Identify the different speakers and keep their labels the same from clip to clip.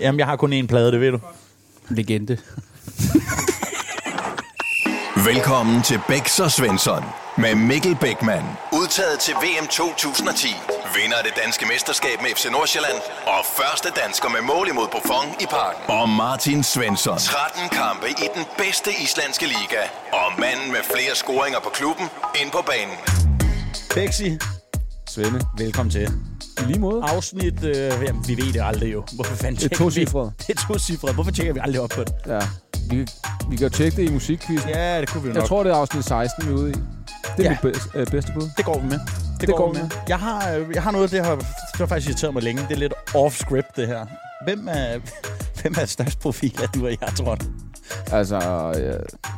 Speaker 1: Jamen, jeg har kun én plade, det ved du.
Speaker 2: Legende.
Speaker 3: Velkommen til Bæks og Svensson med Mikkel Bækman. Udtaget til VM 2010. Vinder af det danske mesterskab med FC Nordsjælland. Og første dansker med mål imod Buffon i parken. Og Martin Svensson. 13 kampe i den bedste islandske liga. Og manden med flere scoringer på klubben ind på banen.
Speaker 1: Bexi,
Speaker 2: Svende.
Speaker 1: velkommen til.
Speaker 2: I lige måde.
Speaker 1: Afsnit, øh, jamen, vi ved det aldrig jo. Hvorfor fanden
Speaker 2: Det er
Speaker 1: tjekker vi-
Speaker 2: tocifret.
Speaker 1: Det er to cifre. Hvorfor tjekker vi aldrig op på det?
Speaker 2: Ja. Vi, kan- vi kan jo tjekke det i musikkvisten. Ja,
Speaker 1: det kunne vi jo
Speaker 2: jeg tror, det er afsnit 16, vi er ude i. Det er
Speaker 1: Ja.
Speaker 2: ja. mit bedste, øh, bedste bud.
Speaker 1: Det går vi med. Det,
Speaker 2: går vi med.
Speaker 1: Jeg har, øh, jeg har noget, det har, det har faktisk irriteret mig længe. Det er lidt off-script, det her. Hvem er, hvem er størst profil af du og jeg, tror du?
Speaker 2: Altså, øh,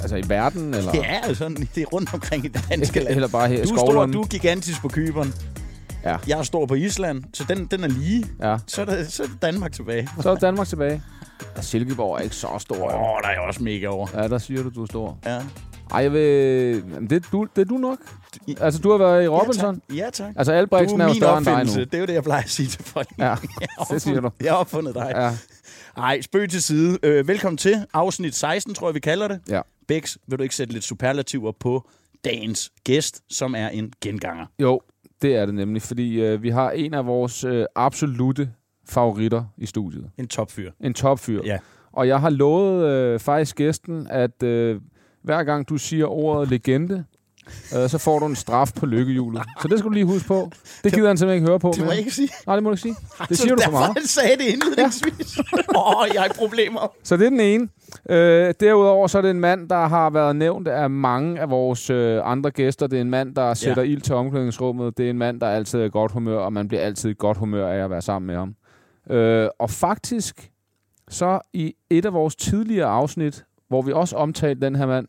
Speaker 2: altså i verden, eller...
Speaker 1: Ja, altså, det er rundt omkring i det danske land.
Speaker 2: Eller bare her i
Speaker 1: Du er stor,
Speaker 2: skovlen.
Speaker 1: du er gigantisk på Kyberen.
Speaker 2: Ja.
Speaker 1: Jeg er stor på Island, så den, den er lige.
Speaker 2: ja.
Speaker 1: Så er, der, så er det Danmark tilbage.
Speaker 2: Så er Danmark tilbage. Ja, Silkeborg er ikke så stor.
Speaker 1: Åh,
Speaker 2: jo.
Speaker 1: oh, der er jeg også mega over.
Speaker 2: Ja, der siger du, du er stor.
Speaker 1: Ja.
Speaker 2: Ej, jeg vil... Jamen, det, er du, det er du nok. Altså, du har været i Robinson.
Speaker 1: Ja, tak. Ja, tak.
Speaker 2: Altså, Albrechtsen
Speaker 1: du er
Speaker 2: er jo
Speaker 1: min
Speaker 2: større end dig nu.
Speaker 1: opfindelse. Det er jo det, jeg plejer at sige til folk.
Speaker 2: Ja,
Speaker 1: Jeg har
Speaker 2: det siger du.
Speaker 1: opfundet- Jeg har opfundet dig.
Speaker 2: Ja.
Speaker 1: Ej, spøg til side. Øh, velkommen til afsnit 16, tror jeg, vi kalder det.
Speaker 2: ja.
Speaker 1: Bex, vil du ikke sætte lidt superlativer på dagens gæst, som er en genganger?
Speaker 2: Jo, det er det nemlig, fordi øh, vi har en af vores øh, absolute favoritter i studiet.
Speaker 1: En topfyr.
Speaker 2: En topfyr.
Speaker 1: Ja.
Speaker 2: Og jeg har lovet øh, faktisk gæsten, at øh, hver gang du siger ordet legende, øh, så får du en straf på lykkehjulet. Så det skal du lige huske på. Det gider han simpelthen ikke høre på.
Speaker 1: Det må
Speaker 2: mere.
Speaker 1: jeg ikke sige.
Speaker 2: Nej, det må du ikke sige. Det siger du for meget.
Speaker 1: Derfor sagde det indledningsvis. Åh, oh, jeg har problemer.
Speaker 2: Så det er den ene. Øh, derudover så er det en mand, der har været nævnt af mange af vores øh, andre gæster. Det er en mand, der sætter ild til omklædningsrummet. Det er en mand, der altid er i godt humør, og man bliver altid i godt humør af at være sammen med ham. Øh, og faktisk, så i et af vores tidligere afsnit, hvor vi også omtalte den her mand,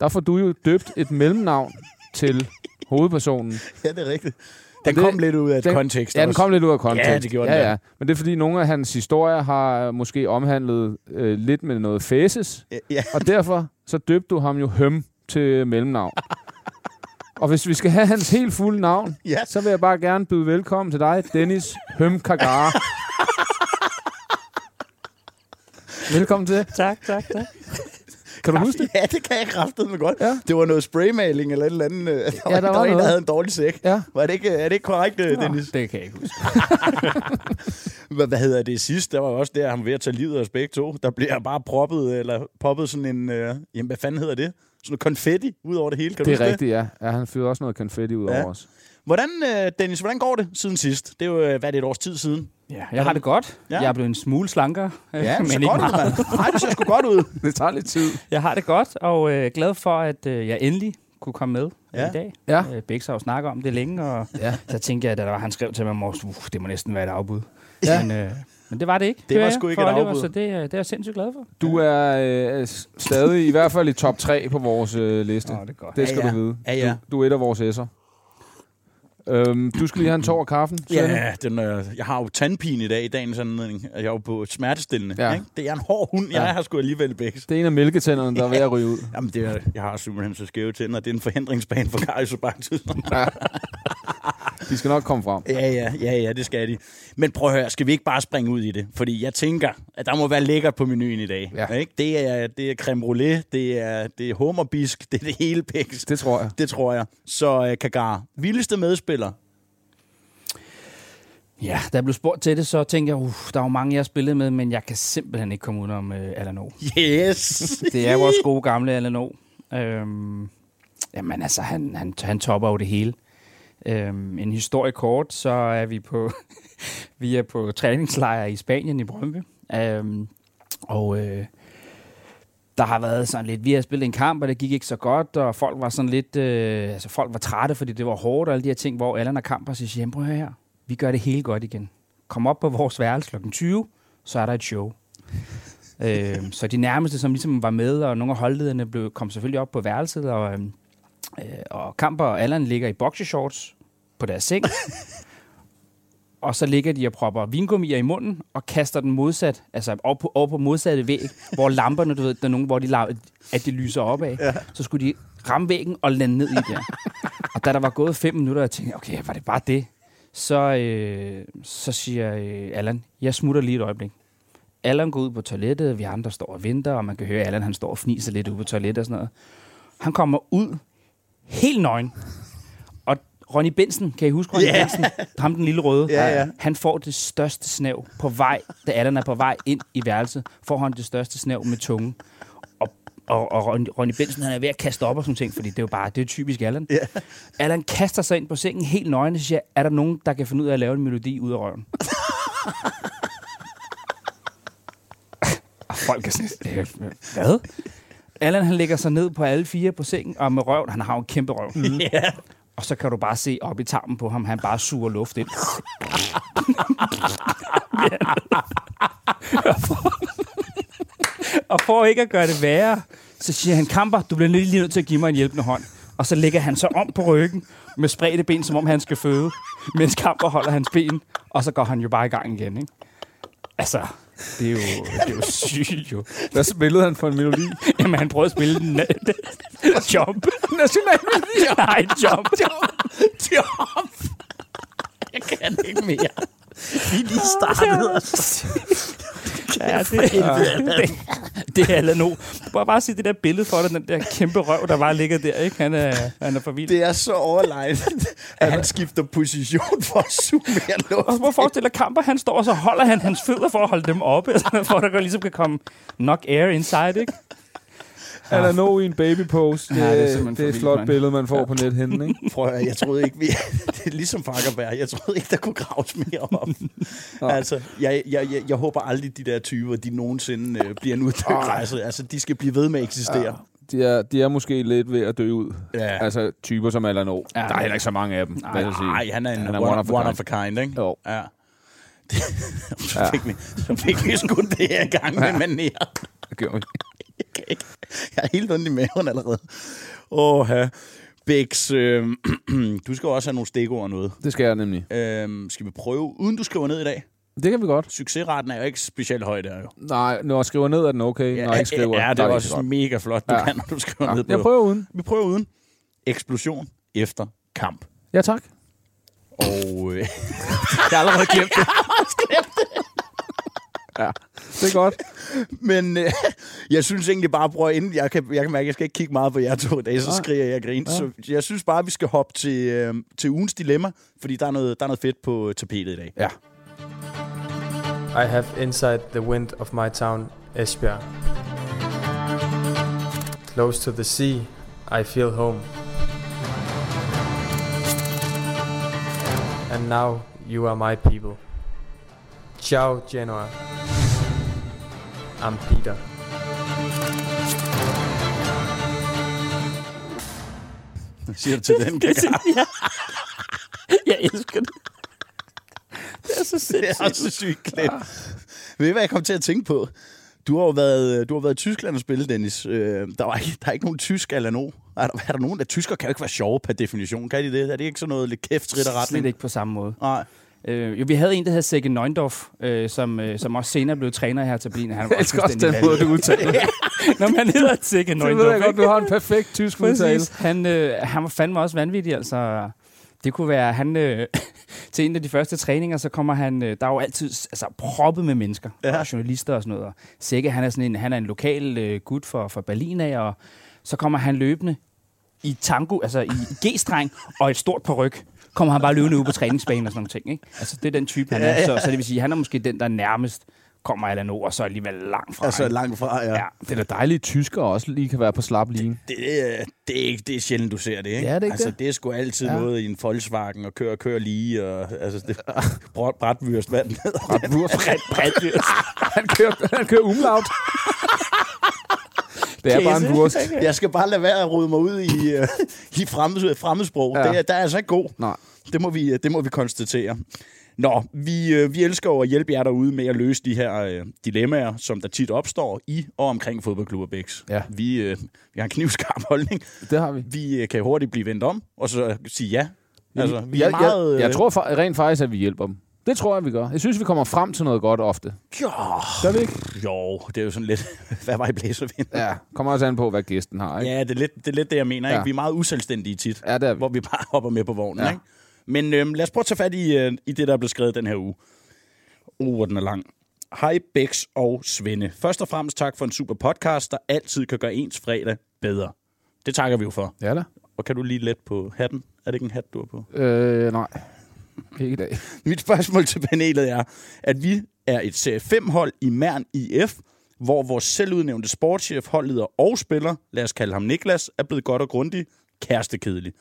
Speaker 2: der får du jo døbt et mellemnavn til hovedpersonen.
Speaker 1: Ja, det er rigtigt. Den
Speaker 2: det-
Speaker 1: kom lidt ud af
Speaker 2: den-
Speaker 1: kontekst
Speaker 2: Ja, den
Speaker 1: også.
Speaker 2: kom lidt ud af kontekst.
Speaker 1: Ja, det gjorde den
Speaker 2: ja,
Speaker 1: der.
Speaker 2: ja. Men det er fordi, nogle af hans historier har øh, måske omhandlet øh, lidt med noget faces.
Speaker 1: Ja,
Speaker 2: Og derfor så døbte du ham jo Høm til mellemnavn. Og hvis vi skal have hans helt fulde navn,
Speaker 1: ja.
Speaker 2: så vil jeg bare gerne byde velkommen til dig, Dennis Høm Kagara. Velkommen til.
Speaker 4: Tak, tak, tak.
Speaker 2: Kan du huske det?
Speaker 1: Ja, det kan jeg kraftedeme godt.
Speaker 2: Ja.
Speaker 1: Det var noget spraymaling eller et eller andet. øh, Der var,
Speaker 2: der
Speaker 1: der
Speaker 2: var
Speaker 1: var en, der
Speaker 2: noget.
Speaker 1: havde en dårlig sæk.
Speaker 2: Ja.
Speaker 1: Var det ikke, er det ikke korrekt, øh, Dennis?
Speaker 2: Det kan jeg ikke huske.
Speaker 1: Hvad, hvad hedder det sidst? Der var også der, han var ved at tage livet af os begge to. Der bliver bare proppet, øh, eller poppet sådan en... Øh, jamen, hvad fanden hedder det? Sådan noget konfetti ud over det hele. Kan du
Speaker 2: Det
Speaker 1: huske
Speaker 2: er rigtigt, ja. ja han fyrede også noget konfetti ud
Speaker 1: Ja.
Speaker 2: over os.
Speaker 1: Det? Hvordan, øh, Dennis, hvordan går det siden sidst? Det er jo, øh, hvad er det, et års tid siden?
Speaker 4: Ja, jeg har det godt.
Speaker 1: Ja.
Speaker 4: Ja. Jeg er blevet en smule slankere, øh,
Speaker 1: Ja, men så
Speaker 4: men
Speaker 1: godt
Speaker 4: ikke
Speaker 1: ud,
Speaker 4: meget.
Speaker 1: mand. Nej, det ser sgu godt ud.
Speaker 2: Det tager lidt tid.
Speaker 4: Jeg har det godt, og øh, glad for, at øh, jeg endelig kunne komme med
Speaker 1: Ja.
Speaker 4: ja. i dag.
Speaker 2: Ja.
Speaker 4: Øh, Bæk har jo snakket om det længe, og
Speaker 2: Ja.
Speaker 4: så tænkte jeg, da der var, han skrev til mig, at uh, det må næsten være et afbud.
Speaker 2: Ja.
Speaker 4: Ja. Men, øh, men det var det ikke.
Speaker 1: Det var
Speaker 4: hører
Speaker 1: sgu
Speaker 4: jeg
Speaker 1: ikke
Speaker 4: fra
Speaker 1: et
Speaker 4: Oliver,
Speaker 1: afbud.
Speaker 4: Så det, øh, det er jeg sindssygt glad for.
Speaker 2: Du er øh, s- stadig i hvert fald i top 3 på vores øh, liste.
Speaker 4: Nå, det er godt.
Speaker 2: Det skal
Speaker 1: Ja, ja.
Speaker 2: du vide.
Speaker 1: Ja, ja.
Speaker 2: Du, du er et af vores S'er. Øhm, du skal lige have en tår af kaffen. Svende.
Speaker 1: Ja, den, øh, jeg har jo tandpine i dag i dagens anledning. Jeg er jo på smertestillende.
Speaker 2: Ja.
Speaker 1: Ja. Ikke? Det er en hård hund. Jeg
Speaker 2: Ja.
Speaker 1: ja. har sgu alligevel begge.
Speaker 2: Det er en af mælketænderne, der er ved at ryge ud.
Speaker 1: Jamen, det er, jeg har simpelthen så skæve tænder. Det er en forhindringsbane for kardiobaktus.
Speaker 2: De skal nok komme frem.
Speaker 1: Ja, ja, ja, ja, det skal de. Men prøv at høre, skal vi ikke bare springe ud i det? Fordi jeg tænker, at der må være lækkert på menuen i dag.
Speaker 2: Ja.
Speaker 1: Ikke? Det, er, det er creme brulee, det er, det er hummerbisk, det er det hele piks.
Speaker 2: Det tror jeg.
Speaker 1: Det tror jeg. Så øh, Kagar, vildeste medspiller?
Speaker 4: Ja, da jeg blev spurgt til det, så tænkte jeg, uh, der er jo mange, jeg har spillet med, men jeg kan simpelthen ikke komme udenom øh, Alano.
Speaker 1: Yes!
Speaker 4: Altså, Det er vores gode gamle Alano. Øhm, jamen altså, han, han, han topper jo det hele. Øhm, en historie kort, så er vi på, vi er på træningslejr i Spanien i Brøndby. Øhm, og øh, der har været sådan lidt, vi har spillet en kamp, og det gik ikke så godt, og folk var sådan lidt, øh, altså folk var trætte, fordi det var hårdt, og alle de her ting, hvor Allan og Kamper siger, jamen prøv at høre her, vi gør det hele godt igen. Kom op på vores værelse kl. 20, så er der et show. øh, så de nærmeste, som ligesom var med, og nogle af holdlederne blev, kom selvfølgelig op på værelset, og, øhm, øh, og Kamper og Allan ligger i boxershorts på deres seng, og så ligger de og propper vingummier i munden, og kaster den modsat, altså over på, over på modsatte væg, hvor lamperne, du ved, der er nogen, hvor de laver, at det lyser op af, ja. så skulle de ramme væggen og lande ned i der. og da der var gået fem minutter, jeg tænkte, okay, var det bare det? Så, øh, så siger øh, Allan, jeg smutter lige et øjeblik. Allan går ud på toilettet, og vi andre står og venter, og man kan høre, at Allan han står og fniser lidt ude på toilettet og sådan noget. Han kommer ud helt nøgen. Og Ronny Bensen, kan I huske Ronny yeah. Bensen? Ham den lille røde.
Speaker 1: Ja, ja.
Speaker 4: Han får det største snæv på vej, da Allan er på vej ind i værelset, får han det største snæv med tungen. Og, og, og Ronny, Ronny Bensen, han er ved at kaste op og sådan ting, fordi det er jo bare, det er jo typisk Allan.
Speaker 1: Ja.
Speaker 4: Allan kaster sig ind på sengen helt nøgen og siger, er der nogen, der kan finde ud af at lave en melodi ud af røven? og Ah, folk er sådan, "Øh, hvad? Allan han lægger sig ned på alle fire på sengen, og med røven, han har jo en kæmpe røv. Mm.
Speaker 1: Ja.
Speaker 4: Og så kan du bare se op i tarmen på ham, han bare suger luft ind. og for ikke at gøre det værre, så siger han, Kamper, du bliver lige nødt til at give mig en hjælpende hånd. Og så ligger han så om på ryggen med spredte ben, som om han skal føde, mens Kamper holder hans ben, og så går han jo bare i gang igen, ikke? Altså, det er jo, det er jo sygt jo.
Speaker 2: Hvad spillede han for en melodi?
Speaker 4: Jamen, han prøvede at spille den. jump. Nationalmelodi. Nej, jump.
Speaker 1: Jump.
Speaker 4: Jeg kan ikke mere.
Speaker 1: Vi er lige startede.
Speaker 4: Ja, det, det, det er Allan O. Du må bare se det der billede for dig, den der kæmpe røv, der bare ligger der. Ikke? Han er, han er for vild.
Speaker 1: Det er så overlegnet, at han skifter position for at suge mere
Speaker 4: Og så
Speaker 1: luft.
Speaker 4: må jeg forestille dig, Kamper, han står, og så holder han hans fødder for at holde dem oppe, for at der godt ligesom kan komme nok air inside, ikke?
Speaker 2: Eller nå i en babypose. Det,
Speaker 4: Ja, det er
Speaker 2: ja,
Speaker 4: simpelthen
Speaker 2: det, det
Speaker 4: for
Speaker 2: er et flot
Speaker 4: vildt, mand.
Speaker 2: billede, man får ja. på nethinden, ikke?
Speaker 1: Prøv at høre, jeg troede ikke, vi... Det er ligesom Fakkerberg. Jeg troede ikke, der kunne graves mere op. altså, jeg, jeg, jeg, jeg håber aldrig, de der typer, de nogensinde øh, bliver en uddød Altså, de skal blive ved med at eksistere.
Speaker 2: De er, de er måske lidt ved at dø ud.
Speaker 1: Ja.
Speaker 2: Altså, typer som Allan O. Ja. Der er heller ikke så mange af dem. Nej,
Speaker 1: Nej, han er en han er one, one, of a kind, ikke?
Speaker 2: Jo.
Speaker 1: Ja. Det, så, fik vi, så fik vi sgu det her i gang med manerer. Jeg kan ikke. Jeg er helt ondt i maven allerede. Åh, ja. Bix, øh, du skal jo også have nogle stikord og noget.
Speaker 2: Det skal jeg nemlig.
Speaker 1: Øh, skal vi prøve, uden du skriver ned i dag?
Speaker 2: Det kan vi godt.
Speaker 1: Succesraten er jo ikke specielt høj, der jo.
Speaker 2: Nej, når jeg skriver ned, er den okay. Ja, når jeg ikke skriver,
Speaker 1: ja,
Speaker 2: der
Speaker 1: det er
Speaker 2: ikke
Speaker 1: også
Speaker 2: så godt.
Speaker 1: mega flot, du ja.
Speaker 2: Ja.
Speaker 1: kan, når du skriver ned på.
Speaker 2: Ja, jeg prøver uden.
Speaker 1: Vi prøver uden. Eksplosion efter kamp.
Speaker 2: Ja, tak.
Speaker 1: Og øh,
Speaker 2: Jeg har allerede glemt det. ja, det er godt.
Speaker 1: Men øh, jeg synes egentlig bare, bror, inden jeg kan, jeg kan mærke, at jeg skal ikke kigge meget på jer to i dag, så skriger jeg og griner. Så jeg synes bare, at vi skal hoppe til, øh, til ugens dilemma, fordi der er, noget, der er noget fedt på øh, tapetet i dag.
Speaker 2: Ja.
Speaker 5: I have inside the wind of my town, Esbjerg. Close to the sea, I feel home. And now you are my people. Ciao, Genoa. I'm Peter.
Speaker 1: Siger du til den, Kaka?
Speaker 4: Jeg elsker det. Det er så
Speaker 1: Det
Speaker 4: sindssygt.
Speaker 1: er også sygt klip. Ved I, hvad jeg kom til at tænke på? Du har jo været, du har været i Tyskland og spille, Dennis. Øh, der, var ikke, der er ikke nogen tysk eller no. Er der, er der nogen, der tysker kan jo ikke være sjove per definition, kan de det? Er det ikke sådan noget lidt kæft, ridt og retning?
Speaker 4: Slet ikke på samme måde.
Speaker 1: Nej.
Speaker 4: Øh, jo, vi havde en, der hed Sække Nøgendorf, øh, som, øh, som også senere blev træner her til Blin. Han var
Speaker 2: Jeg elsker også den måde, du udtaler det.
Speaker 4: Når man hedder Sække
Speaker 2: Det ved jeg
Speaker 4: Nøgendorf.
Speaker 2: godt, du har en perfekt tysk udtale.
Speaker 4: Præcis. Han, øh, han var fandme også vanvittig, altså. Det kunne være, han... Øh, til en af de første træninger, så kommer han... Øh, der er jo altid altså, proppet med mennesker. Ja. Og journalister og sådan noget. Og Sække, han er, sådan en, han er en lokal øh, gut for, for Berlin af, og så kommer han løbende i tango, altså i G-streng og et stort peruk kommer han bare løbende ud på træningsbanen og sådan nogle ting. Ikke? Altså, det er den type, han er. Så, så det vil sige, han er måske den, der nærmest kommer Allan O, og så alligevel langt fra.
Speaker 1: Altså
Speaker 4: ikke?
Speaker 1: langt fra, ja.
Speaker 4: ja.
Speaker 2: Det er da dejligt, at tyskere også lige kan være på slap lige.
Speaker 1: det, er- det, er ikke, det er sjældent, du ser det, ikke?
Speaker 2: Ja, det er ikke
Speaker 1: altså,
Speaker 2: det.
Speaker 1: det er sgu altid ja. noget i en Volkswagen og køre, køre lige, og altså, det bræt, brætvyrst vand ned.
Speaker 4: Præt,
Speaker 2: Han kører, han kører umlaut. Det er bare en wurst.
Speaker 1: Jeg skal bare lade være at rode mig ud i, øh, i fremmed, fremmedsprog. Ja.
Speaker 2: Ja.
Speaker 1: Det, er- der er altså ikke god.
Speaker 2: Nej.
Speaker 1: Det må vi, øh, det må vi konstatere. Nå, vi, øh, vi elsker jo at hjælpe jer derude med at løse de her øh, dilemmaer, som der tit opstår i og omkring fodboldklubber Bæks.
Speaker 2: Ja.
Speaker 1: Vi, øh, vi har en knivskarp holdning.
Speaker 2: Det har vi.
Speaker 1: Vi øh, kan hurtigt blive vendt om, og så sige ja. Altså, vi er
Speaker 2: jeg,
Speaker 1: meget...
Speaker 2: jeg,
Speaker 1: øh,
Speaker 2: jeg tror fa- rent faktisk, at vi hjælper dem. Det tror jeg, vi gør. Jeg synes, vi kommer frem til noget godt ofte.
Speaker 1: Jo,
Speaker 2: Gør vi ikke?
Speaker 1: Jo, det er jo sådan lidt, hvad var i blæservind?
Speaker 2: Ja. Kommer også an på, hvad gæsten har, ikke?
Speaker 1: Ja, det er lidt det, er lidt det jeg mener. Ja.
Speaker 2: Ja.
Speaker 1: Ikke? Vi er meget uselvstændige tit,
Speaker 2: Ja, det er vi.
Speaker 1: hvor vi bare hopper med på vognen. Ja.
Speaker 2: Ja.
Speaker 1: Ikke? Men øhm, lad os prøve at tage fat i, øh, i det, der er blevet skrevet den her uge. Uh, hvor den er lang. Hej Bex og Svende. Først og fremmest tak for en super podcast, der altid kan gøre ens fredag bedre. Det takker vi jo for.
Speaker 2: Ja da.
Speaker 1: Og kan du lige let på hatten? Er det ikke en hat, du har på?
Speaker 2: Øh, nej. Ikke i dag.
Speaker 1: Mit spørgsmål til panelet er, at vi er et serie 5-hold i Mern IF, hvor vores selvudnævnte sportschef, holdleder og spiller, lad os kalde ham Niklas, er blevet godt og grundig kærestekedelig.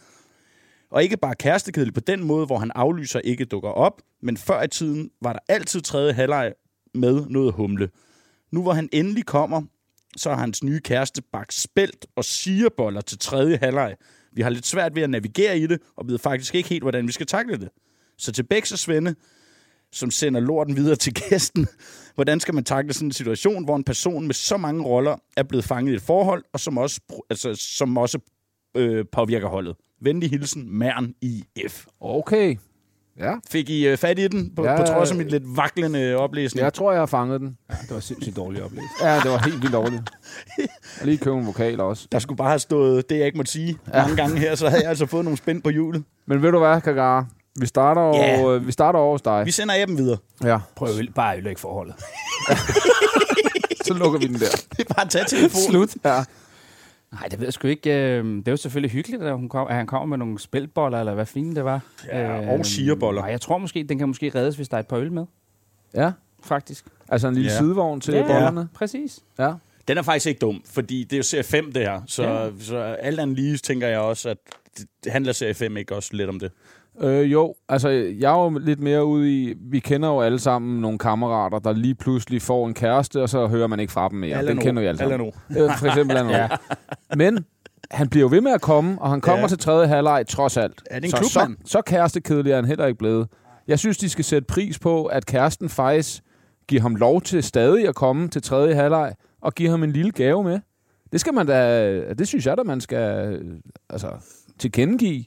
Speaker 1: Og ikke bare kærestekedelig på den måde, hvor han aflyser ikke dukker op, men før i tiden var der altid tredje halvleg med noget humle. Nu hvor han endelig kommer, så har hans nye kæreste bagt spelt og sierboller til tredje halvleg. Vi har lidt svært ved at navigere i det, og ved faktisk ikke helt, hvordan vi skal takle det. Så til Bæks og Svende, som sender lorten videre til gæsten. Hvordan skal man takle sådan en situation, hvor en person med så mange roller er blevet fanget i et forhold, og som også, altså, som også øh, påvirker holdet? Venlig hilsen, Mern IF.
Speaker 2: Okay. Ja.
Speaker 1: Fik I øh, fat i den, på, ja,
Speaker 2: Ja,
Speaker 1: på trods af
Speaker 2: øh,
Speaker 1: mit lidt vaklende oplæsning?
Speaker 2: Jeg tror, jeg har fanget den.
Speaker 4: Det var sindssygt dårligt oplæst.
Speaker 2: Ja, det var helt vildt dårligt. Og lige købe en vokal også.
Speaker 1: Der skulle bare have stået det, jeg ikke måtte sige ja. mange gange her, så havde jeg altså fået nogle spænd på hjulet.
Speaker 2: Men ved du hvad, Kagar? Vi starter,
Speaker 1: Ja.
Speaker 2: yeah. vi starter over hos dig.
Speaker 1: Vi sender appen videre.
Speaker 2: Ja,
Speaker 4: Prøv øl, bare ødelægge forholdet.
Speaker 2: så lukker vi den der.
Speaker 1: Det er bare at tage telefonen. Slut.
Speaker 2: Ja.
Speaker 4: Nej, det ved jeg sgu ikke. øhm, Det var selvfølgelig hyggeligt, at, hun kom, at han kommer med nogle spilboller, eller hvad fint det var. Øhm,
Speaker 1: Ja, og sigerboller.
Speaker 4: Nej, jeg tror måske, den kan måske reddes, hvis der er et par øl med,
Speaker 2: ja.
Speaker 4: faktisk.
Speaker 2: Altså en lille
Speaker 1: Ja.
Speaker 2: yeah. sidevogn til
Speaker 4: Ja,
Speaker 2: yeah.
Speaker 4: ja.
Speaker 2: bollerne.
Speaker 4: Præcis.
Speaker 2: Ja.
Speaker 1: Den er faktisk ikke dum, fordi det er jo serie 5, det her. Så, ja. så alt andet lige tænker jeg også, at det handler serie 5 ikke også lidt om det.
Speaker 2: Øh, jo, altså jeg er jo lidt mere ude i, vi kender jo alle sammen nogle kammerater, der lige pludselig får en kæreste, og så hører man ikke fra dem mere.
Speaker 1: Alle
Speaker 2: den
Speaker 1: nu.
Speaker 2: kender vi alle sammen.
Speaker 1: Alle
Speaker 2: Øh, for eksempel Alano. ja. Men han bliver jo ved med at komme, og han kommer
Speaker 1: Ja.
Speaker 2: ja. til tredje halvleg trods alt.
Speaker 1: Ja, det er en
Speaker 2: så,
Speaker 1: klubmand.
Speaker 2: så, så kærestekedelig er han heller ikke blevet. Jeg synes, de skal sætte pris på, at kæresten faktisk giver ham lov til stadig at komme til tredje halvleg, og give ham en lille gave med. Det skal man da, det synes jeg da, man skal øh, altså, tilkendegive.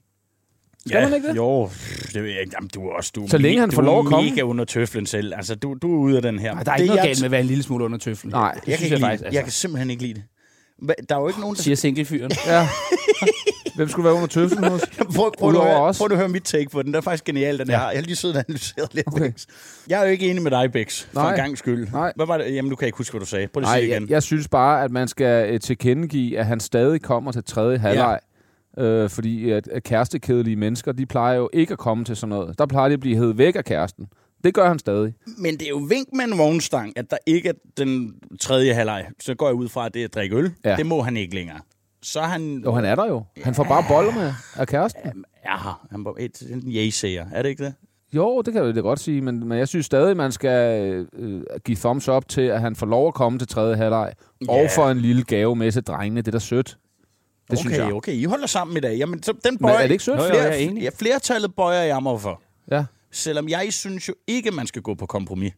Speaker 2: Skal man ikke det?
Speaker 1: Jo, det ved jeg ikke. Jamen, du er også... Du er
Speaker 2: Så længe han
Speaker 1: du
Speaker 2: får
Speaker 1: er
Speaker 2: lov at komme.
Speaker 1: mega under tøflen selv. Altså, du, du er ude af den her.
Speaker 4: Nej, der er ikke det noget
Speaker 1: jeg-
Speaker 4: galt med at være en lille smule under tøflen.
Speaker 2: Nej.
Speaker 1: Jeg, kan,
Speaker 4: synes
Speaker 1: ikke lide,
Speaker 4: jeg
Speaker 1: faktisk,
Speaker 4: faktisk,
Speaker 1: altså.
Speaker 4: altså.
Speaker 1: jeg kan simpelthen ikke lide det. Hva- Der er jo ikke nogen, der
Speaker 4: Siger singlefyren.
Speaker 2: Ja. Hvem skulle være under tøflen hos?
Speaker 1: Prøv, prøv, du at
Speaker 2: Udover
Speaker 1: høre,
Speaker 2: os.
Speaker 1: prøv du at høre mit take på den. Den er faktisk genial, den ja. her. Jeg har lige siddet og analyseret lidt, okay.
Speaker 2: Okay.
Speaker 1: Bex. Jeg er jo ikke enig med dig, Bex, for
Speaker 2: Nej.
Speaker 1: en gang skyld.
Speaker 2: Nej.
Speaker 1: Hvad var det? Jamen, du kan ikke huske, hvad du sagde. Prøv lige at
Speaker 2: Nej,
Speaker 1: sige det igen.
Speaker 2: jeg, jeg synes bare, at man skal øh, tilkendegive, at han stadig kommer til tredje halvleg. Ja. Øh, fordi at, at kærestekedelige mennesker, de plejer jo ikke at komme til sådan noget. Der plejer de at blive hævet væk af kæresten. Det gør han stadig.
Speaker 1: Men det er jo vink med en vognstang, at der ikke er den tredje halvleg. Så går jeg ud fra, at det er at drikke øl. Ja.
Speaker 2: Ja.
Speaker 1: Det må han ikke længere. Så er han...
Speaker 2: Jo, han er der jo. Han får bare bolle med af kæresten.
Speaker 1: Ja, han var et, en ja-sager. Er det ikke det?
Speaker 2: Jo, det kan jeg da godt sige, men, men jeg synes stadig, man skal øh, give thumbs up til, at han får lov at komme til tredje halvleg. Yeah.
Speaker 1: Ja.
Speaker 2: Og får en lille gave med til drengene. Det er da sødt. Det
Speaker 1: okay,
Speaker 2: synes jeg.
Speaker 1: okay. I holder sammen i dag. Jamen, så den
Speaker 2: Men
Speaker 1: bøjer...
Speaker 2: er det ikke sødt?
Speaker 4: Nå, jo,
Speaker 1: Flere,
Speaker 4: jeg er enig.
Speaker 1: ja, flertallet bøjer jeg mig for.
Speaker 2: Ja.
Speaker 1: Selvom jeg synes jo ikke, man skal gå på kompromis.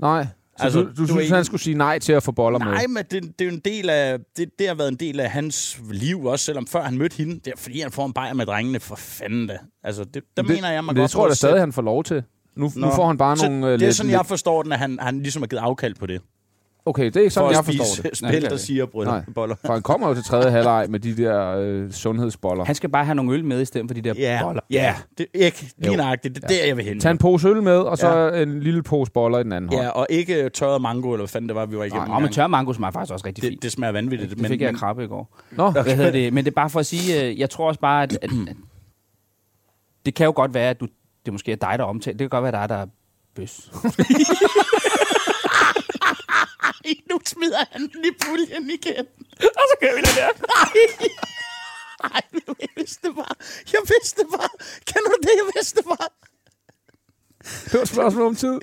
Speaker 2: Nej. Så
Speaker 1: Altså,
Speaker 2: altså, du,
Speaker 1: du er
Speaker 2: du synes,
Speaker 1: enig?
Speaker 2: han skulle sige nej til at få boller med?
Speaker 1: Nej, men det, det er jo en del af... Det, det har været en del af hans liv også, selvom før han mødte hende. Det er fordi, han får en bajer med drengene. For fanden da. Altså, det, der
Speaker 2: det,
Speaker 1: mener jeg, man
Speaker 2: men
Speaker 1: godt
Speaker 2: Det tror jeg
Speaker 1: må
Speaker 2: da
Speaker 1: sætte-
Speaker 2: stadig, han får lov til. Nu, nu
Speaker 1: Nå.
Speaker 2: får han bare
Speaker 1: så
Speaker 2: nogle... øh,
Speaker 1: Det er
Speaker 2: lidt-
Speaker 1: sådan, jeg forstår den, at han, han ligesom har givet afkald på det.
Speaker 2: Okay, det er ikke
Speaker 1: for
Speaker 2: sådan, jeg
Speaker 1: at
Speaker 2: forstår det.
Speaker 1: spise
Speaker 4: Nej, det
Speaker 1: spil,
Speaker 4: gør
Speaker 1: der
Speaker 4: det
Speaker 1: siger brød.
Speaker 2: Nej.
Speaker 1: Boller.
Speaker 2: For han kommer jo til tredje halvleg med de der øh, sundhedsboller.
Speaker 4: Han skal bare have nogle øl med, i stedet for de der
Speaker 1: Ja,
Speaker 4: boller.
Speaker 1: ja, det er ikke lige
Speaker 2: Jo.
Speaker 1: nøjagtigt. Det er der, jeg vil hen.
Speaker 2: Tag en pose øl med, og så
Speaker 1: Ja.
Speaker 2: ja. en lille pose boller i den anden
Speaker 1: Ja,
Speaker 2: hånd.
Speaker 1: og ikke tørret mango, eller hvad fanden det var, vi var igennem.
Speaker 4: Ja, og
Speaker 1: engang.
Speaker 4: med tørre mango smager faktisk også rigtig
Speaker 1: det,
Speaker 4: fint.
Speaker 1: det smager vanvittigt.
Speaker 4: Det fik jeg af krabbe i går.
Speaker 2: Nå,
Speaker 4: Hvad hedder det? Men det er bare for at sige, øh, jeg tror også bare, at, at, at det kan jo godt være, at du, det måske er dig, der omtaler. Det kan godt være dig, der er bøs.
Speaker 1: Ej, nu smider han den i puljen igen.
Speaker 4: Og så kører vi det der.
Speaker 1: Ej, jeg vidste det bare. Jeg vidste det bare. Kan du det? Jeg vidste det bare.
Speaker 2: det var et spørgsmål om tid.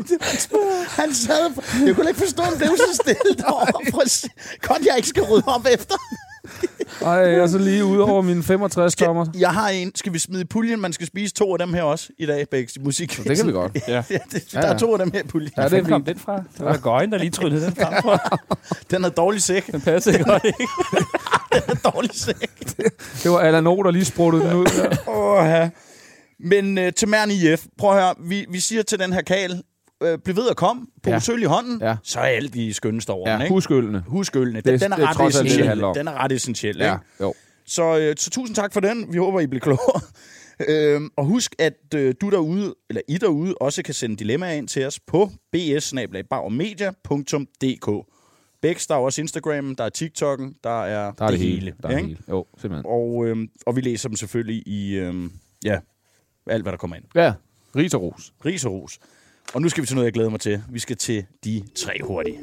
Speaker 1: Han sad... Jeg kunne ikke forstå, at han blev så stille derovre. Prøv at se. Godt, jeg ikke skal rydde op efter.
Speaker 2: Ej, jeg er så lige ude over mine 65 tommer.
Speaker 1: Jeg har en. Skal vi smide i puljen? Man skal spise to af dem her også i dag, Bæks musik.
Speaker 2: Det kan vi godt.
Speaker 1: Ja. det, der
Speaker 2: Ja,
Speaker 1: er
Speaker 2: ja.
Speaker 1: to af dem her i puljen.
Speaker 2: Ja, det
Speaker 4: Hvor
Speaker 2: er
Speaker 4: kom
Speaker 2: fint.
Speaker 4: den fra? Det var Gøjen, der lige tryllede den frem på.
Speaker 1: Den er dårlig sæk.
Speaker 4: Den passede godt, ikke?
Speaker 1: dårlig sæk.
Speaker 2: Det var Allan O, der lige spruttede den ud. Ja.
Speaker 1: Åh, ja. Men øh, til Mern IF, prøv at høre, vi, vi siger til den her kal, øh, bliv ved at komme, på
Speaker 2: Ja.
Speaker 1: ja. i hånden, ja.
Speaker 2: Ja.
Speaker 1: så er alt i skønneste over ja.
Speaker 2: Ja,
Speaker 1: ikke? Husk,
Speaker 2: husk ølene.
Speaker 1: Husk ølene. Den,
Speaker 2: Det-
Speaker 1: den, er
Speaker 2: det er
Speaker 1: ret
Speaker 2: trods alt det, det
Speaker 1: essentiel.
Speaker 2: handler om.
Speaker 1: den er ret essentiel, ja.
Speaker 2: Ja,
Speaker 1: ikke?
Speaker 2: jo.
Speaker 1: Så, øh, så tusind tak for den. Vi håber, I bliver klogere. Øhm, og husk, at øh, du derude, eller I derude, også kan sende dilemmaer ind til os på bs Bæks, der er også Instagram, der er TikTok'en, der er,
Speaker 2: Der er det, hele. Der er det
Speaker 1: ikke?
Speaker 2: hele. Jo, simpelthen.
Speaker 1: Og, øhm, og vi læser dem selvfølgelig i øhm, ja, alt, hvad der kommer ind.
Speaker 2: Ja, ris og ros.
Speaker 1: Ris og ros. Og nu skal vi til noget, jeg glæder mig til. Vi skal til de tre hurtige.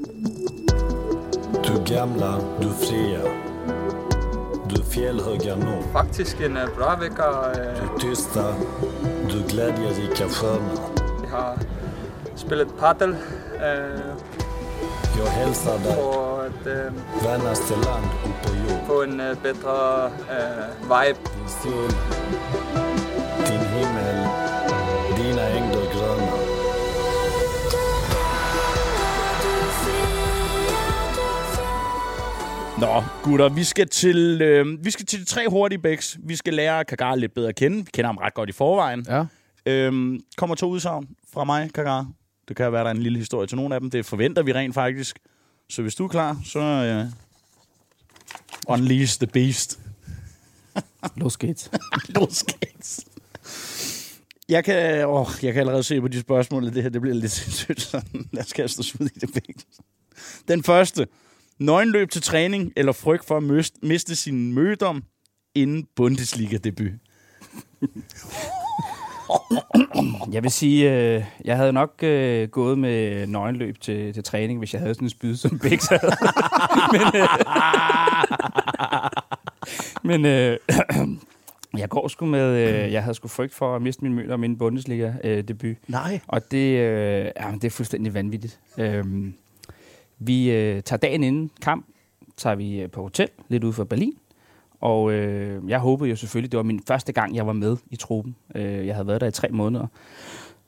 Speaker 6: Du gamla, du fria. Du fjällhöga norr.
Speaker 5: Faktisk en uh, bra vecka. Uh,
Speaker 6: Du tysta, du glädjerika sköna.
Speaker 5: vi har spillet paddel uh,
Speaker 6: Jag hälsar dig,
Speaker 5: for at uh,
Speaker 6: vänaste land upp på jord.
Speaker 5: få en uh, bedre uh, vibe.
Speaker 6: Din sol, din himmel, dina ängder gröna.
Speaker 1: Nå, gutter, vi skal til, øh, vi skal til de tre hurtige bæks. Vi skal lære Kagar lidt bedre at kende. Vi kender ham ret godt i forvejen.
Speaker 2: Ja.
Speaker 1: Øhm, kommer to udsagn fra mig, Kagar. Det kan være, der er en lille historie til nogle af dem. Det forventer vi rent faktisk. Så hvis du er klar, så... Øh, unleash the beast.
Speaker 4: Los geht's.
Speaker 1: Los geht's. Jeg kan, åh, jeg kan allerede se på de spørgsmål, at det her det bliver lidt sindssygt sådan. Lad os kaste os ud i det begge. Den første. Nøgenløb til træning eller frygt for at miste, miste sin mødom inden Bundesliga-debut.
Speaker 4: Jeg vil sige, øh, jeg havde nok øh, gået med nøgenløb til, til træning, hvis jeg havde sådan en spyd som Bix havde. men øh, men øh, jeg går sgu med, øh, jeg havde sgu frygt for at miste min møder om en Bundesliga-debut.
Speaker 1: Nej.
Speaker 4: Og det, øh, jamen, det er fuldstændig vanvittigt. Øhm, vi øh, tager dagen inden kamp, tager vi øh, på hotel lidt ude for Berlin. Og øh, jeg håbede jo selvfølgelig, det var min første gang, jeg var med i truppen. Øh, jeg havde været der i tre måneder.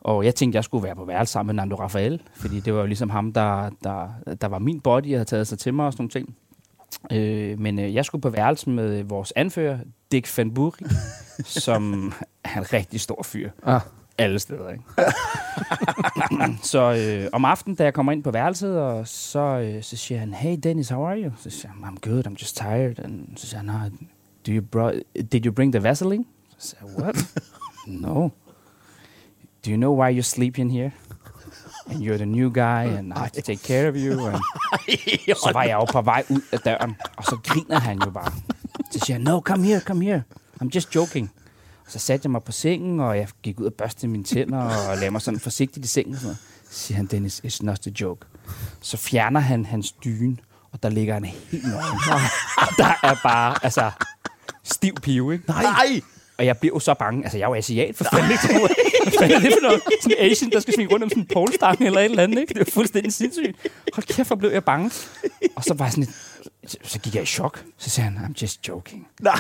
Speaker 4: Og jeg tænkte, jeg skulle være på værelse sammen med Nando Rafael, fordi det var jo ligesom ham, der, der, der var min body, jeg havde taget sig til mig og sådan nogle ting. Øh, men øh, jeg skulle på værelse med øh, vores anfører, Dick Van Buri, som er en rigtig stor fyr
Speaker 2: Ah,
Speaker 4: alle steder, ikke? så øh, om aftenen, da jeg kommer ind på værelset, og så, øh, så siger han, hey Dennis, how are you? Så siger han, I'm good, I'm just tired. And så siger han, "Ah, do you bro- did you bring the Vaseline? Så siger jeg, what? no. Do you know why you're sleeping here? And you're the new guy, and I have to take care of you. And så var jeg jo på vej ud af døren, og så griner han jo bare. Så siger jeg, no, come here, come here. I'm just joking. Og så satte jeg mig på sengen, og jeg gik ud og børste mine tænder, og lavede mig sådan forsigtigt i sengen. Og sådan noget. Så siger han, Dennis, it's not a joke. Så fjerner han hans dyne, og der ligger han helt nøgen. Og der er bare, altså, stiv pive, ikke?
Speaker 1: Nej.
Speaker 4: Og jeg blev jo så bange. Altså, jeg var asiat for fanden, ikke? Hvad fanden er det for noget? Sådan en Asian, der skal svinge rundt om sådan en polestang eller et eller andet, ikke? Det var fuldstændig sindssygt. Hold kæft, hvor blev jeg bange. Og så var jeg sådan lidt, så- så gik jeg i chok. Så sagde han, I'm just joking.
Speaker 1: Nej.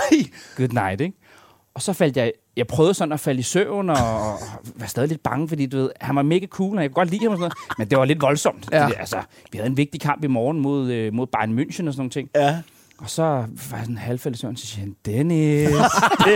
Speaker 4: Good night, ikke? Og så faldt jeg, jeg prøvede sådan at falde i søvn, og, og var stadig lidt bange, fordi du ved, han var mega cool, og jeg kunne godt lide ham og sådan noget, men det var lidt voldsomt.
Speaker 2: Ja.
Speaker 4: Ja. Det, altså, vi havde en vigtig kamp i morgen mod, øh, mod Bayern München og sådan nogle ting.
Speaker 1: Ja.
Speaker 4: Og så var jeg sådan halvfældet i søvn, så siger han, Dennis,
Speaker 1: Hvor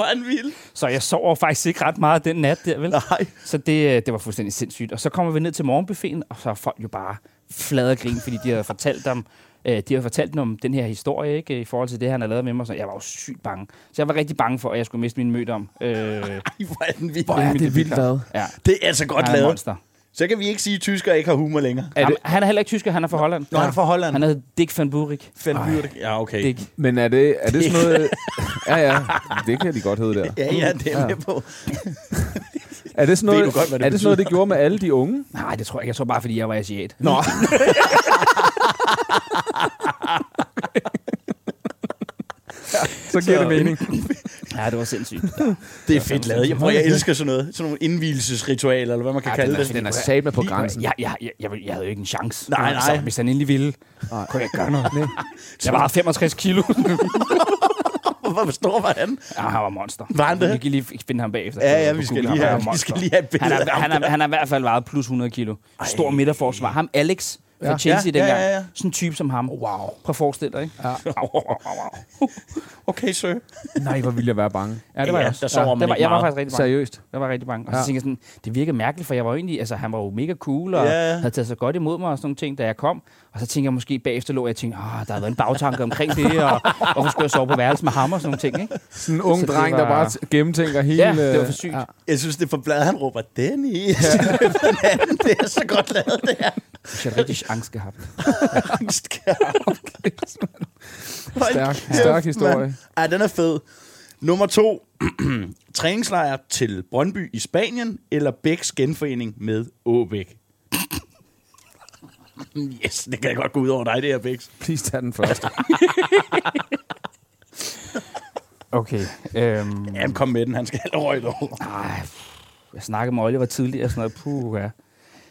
Speaker 1: er han vild.
Speaker 4: Så jeg sover faktisk ikke ret meget den nat der, vel?
Speaker 1: Nej.
Speaker 4: Så det, øh, det var fuldstændig sindssygt. Og så kommer vi ned til morgenbuffeten, og så er folk jo bare flade og grin, fordi de har fortalt dem, øh, de har fortalt dem om den her historie, ikke? I forhold til det, han har lavet med mig. Så jeg var jo sygt bange. Så jeg var rigtig bange for, at jeg skulle miste min mødom. Øh,
Speaker 1: Ej, Hvor er den vild.
Speaker 2: hvor er
Speaker 4: min
Speaker 2: det vildt,
Speaker 4: debutklar.
Speaker 2: hvad?
Speaker 4: ja,
Speaker 1: Det er altså godt
Speaker 4: han er en
Speaker 1: lavet.
Speaker 4: monster.
Speaker 1: Så kan vi ikke sige, at tyskere ikke har humor længere.
Speaker 2: Er
Speaker 4: Jamen,
Speaker 2: det,
Speaker 4: han er heller ikke tysker, han er fra Holland.
Speaker 1: Nå, han er fra Holland.
Speaker 4: Han hedder Dick van Burik.
Speaker 1: Fandt det. Ja, okay.
Speaker 4: Dick.
Speaker 2: men er det, er det sådan noget... Ja, ja. Det kan de godt hedde der.
Speaker 1: Ja, ja, det er jeg med på.
Speaker 2: Er det sådan
Speaker 1: Ved
Speaker 2: noget,
Speaker 1: du godt, hvad det
Speaker 2: er det, sådan noget det gjorde med alle de unge?
Speaker 4: Nej, det tror jeg ikke. Jeg tror bare, fordi jeg var asiat.
Speaker 2: Nå. Så giver det mening.
Speaker 4: Ja, det var sindssygt.
Speaker 1: Det er fedt lavet. Jeg, prøver, jeg elsker sådan noget. Sådan nogle indvielsesritualer, eller hvad man kan
Speaker 2: Ja,
Speaker 1: kalde
Speaker 2: den er,
Speaker 1: det.
Speaker 2: den er satme på grænsen.
Speaker 4: Jeg, jeg, jeg, jeg, ville- jeg havde jo ikke en chance.
Speaker 1: Nej, nej.
Speaker 4: Så, hvis han endelig ville, nej. kunne jeg ikke gøre noget. Nej. Jeg var 65 kilo.
Speaker 1: Hvor stor var han?
Speaker 4: ja, han var monster.
Speaker 1: Var han det?
Speaker 4: Vi kan lige finde ham bagefter.
Speaker 1: Ja, ja,
Speaker 4: På
Speaker 1: vi skal
Speaker 4: Google.
Speaker 1: lige
Speaker 4: Han var
Speaker 1: have-
Speaker 4: monster.
Speaker 1: vi skal lige have et billede
Speaker 4: han
Speaker 1: af
Speaker 4: er,
Speaker 1: ham.
Speaker 4: han, er, han er i hvert fald vejet plus 100 kilo. Stor midterforsvar. Ham Alex for ja. Chelsea
Speaker 1: Ja, ja,
Speaker 4: dengang.
Speaker 1: ja, ja.
Speaker 4: Sådan en type som ham. Wow. Prøv at forestille dig, ikke? Ja.
Speaker 1: okay, sø.
Speaker 2: Nej, hvor ville jeg være bange.
Speaker 4: Ja, det var
Speaker 1: Ja,
Speaker 4: jeg også.
Speaker 1: der sover man
Speaker 4: der var,
Speaker 1: ikke
Speaker 4: jeg var
Speaker 1: meget.
Speaker 4: faktisk rigtig bange.
Speaker 2: Seriøst.
Speaker 4: Jeg var rigtig bange. Og
Speaker 2: Ja.
Speaker 4: så tænkte jeg sådan, det virkede mærkeligt, for jeg var jo egentlig, altså han var jo mega cool, og
Speaker 1: Ja.
Speaker 4: yeah. havde taget sig godt imod mig og sådan nogle ting, da jeg kom. Og så tænkte jeg måske bagefter lå, jeg og tænkte, ah, der har været en bagtanke omkring det, og hvorfor skulle jeg sove på værelse med ham og sådan nogle ting, ikke?
Speaker 2: Sådan en ung
Speaker 4: Så det
Speaker 2: dreng, der
Speaker 4: var-
Speaker 2: bare t- gennemtænker hele...
Speaker 4: Ja, det var for
Speaker 2: øh,
Speaker 4: sygt.
Speaker 2: ja.
Speaker 1: Jeg synes, det er for bladet. Han råber, Dennis. Ja. det er så godt lavet, det her.
Speaker 4: Så jeg har rigtig angst gehabt.
Speaker 2: Stærk, stærk historie.
Speaker 1: Ej, den er fed. Nummer to. Træningslejr til Brøndby i Spanien, eller Bæks genforening med Åbæk. yes, det kan godt gå ud over dig, det her, Bæks.
Speaker 2: Please tag den første.
Speaker 4: Okay. Øhm,
Speaker 1: Jamen, kom med den. Han skal have røget over.
Speaker 4: Ej, pff, jeg snakkede med Oliver tidligere og sådan noget. Puh, ja.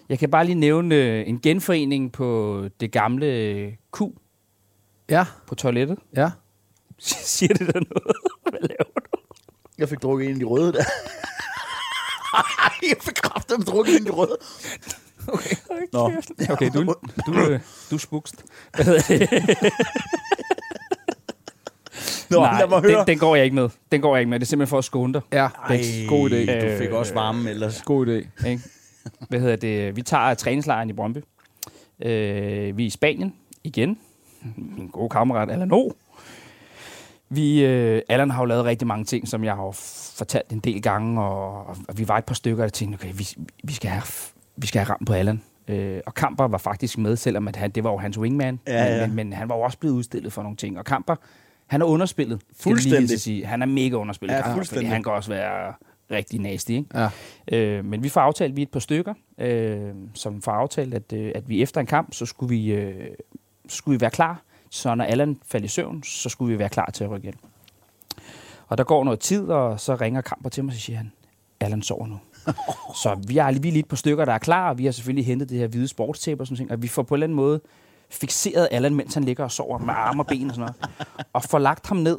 Speaker 4: Jeg kan bare lige nævne øh, en genforening på det gamle øh, Q
Speaker 2: ja,
Speaker 4: på toilettet.
Speaker 2: ja.
Speaker 4: Siger det der noget? Hvad laver du?
Speaker 1: Jeg fik drukket en af de røde der. Ej, jeg fik kraftigt drukket en af de røde. Okay. Nå.
Speaker 4: Okay, du, du, øh, du er spukst. Hvad hedder det?
Speaker 1: Nå, Nej, lad mig høre.
Speaker 4: Den, den går jeg ikke med. Den går jeg ikke med. Det er simpelthen for at skåne dig.
Speaker 2: Ja,
Speaker 1: Ej,
Speaker 2: Bex. God idé.
Speaker 1: Du fik også varme ellers.
Speaker 2: God idé.
Speaker 4: Ikke? Hvad hedder det? Vi tager træningslejren i Brøndby. Øh, vi er i Spanien igen. Min gode kammerat Allan O. Vi, øh, Allan har jo lavet rigtig mange ting, som jeg har jo fortalt en del gange, og, og vi var et par stykker, der tænkte, okay, vi, vi, skal, have, vi skal have ramt på Allan. Øh, og Kamper var faktisk med, selvom at han, det var jo hans wingman,
Speaker 1: Ja,
Speaker 4: men,
Speaker 1: ja.
Speaker 4: Men, men han var jo også blevet udstillet for nogle ting. Og Kamper, han er underspillet. skal jeg lige
Speaker 1: Fuldstændig.
Speaker 4: hilse at Sige. Han er mega underspillet,
Speaker 1: Ja,
Speaker 4: Kamper, fordi
Speaker 1: fuldstændig.
Speaker 4: han kan også være rigtig nasty, ikke?
Speaker 2: Ja.
Speaker 4: Øh, men vi får aftalt, vi er et par stykker, øh, som får aftalt, at, øh, at vi efter en kamp, så skulle vi, øh, så skulle vi være klar. Så når Allan faldt i søvn, så skulle vi være klar til at rykke ind. Og der går noget tid, og så ringer Kamper til mig, og så siger han, Allan sover nu. så vi er, vi er lige et par stykker, der er klar, og vi har selvfølgelig hentet det her hvide sportstæppe og sådan noget, og vi får på en eller anden måde fixeret Allan, mens han ligger og sover med arme og ben og sådan noget, og får lagt ham ned,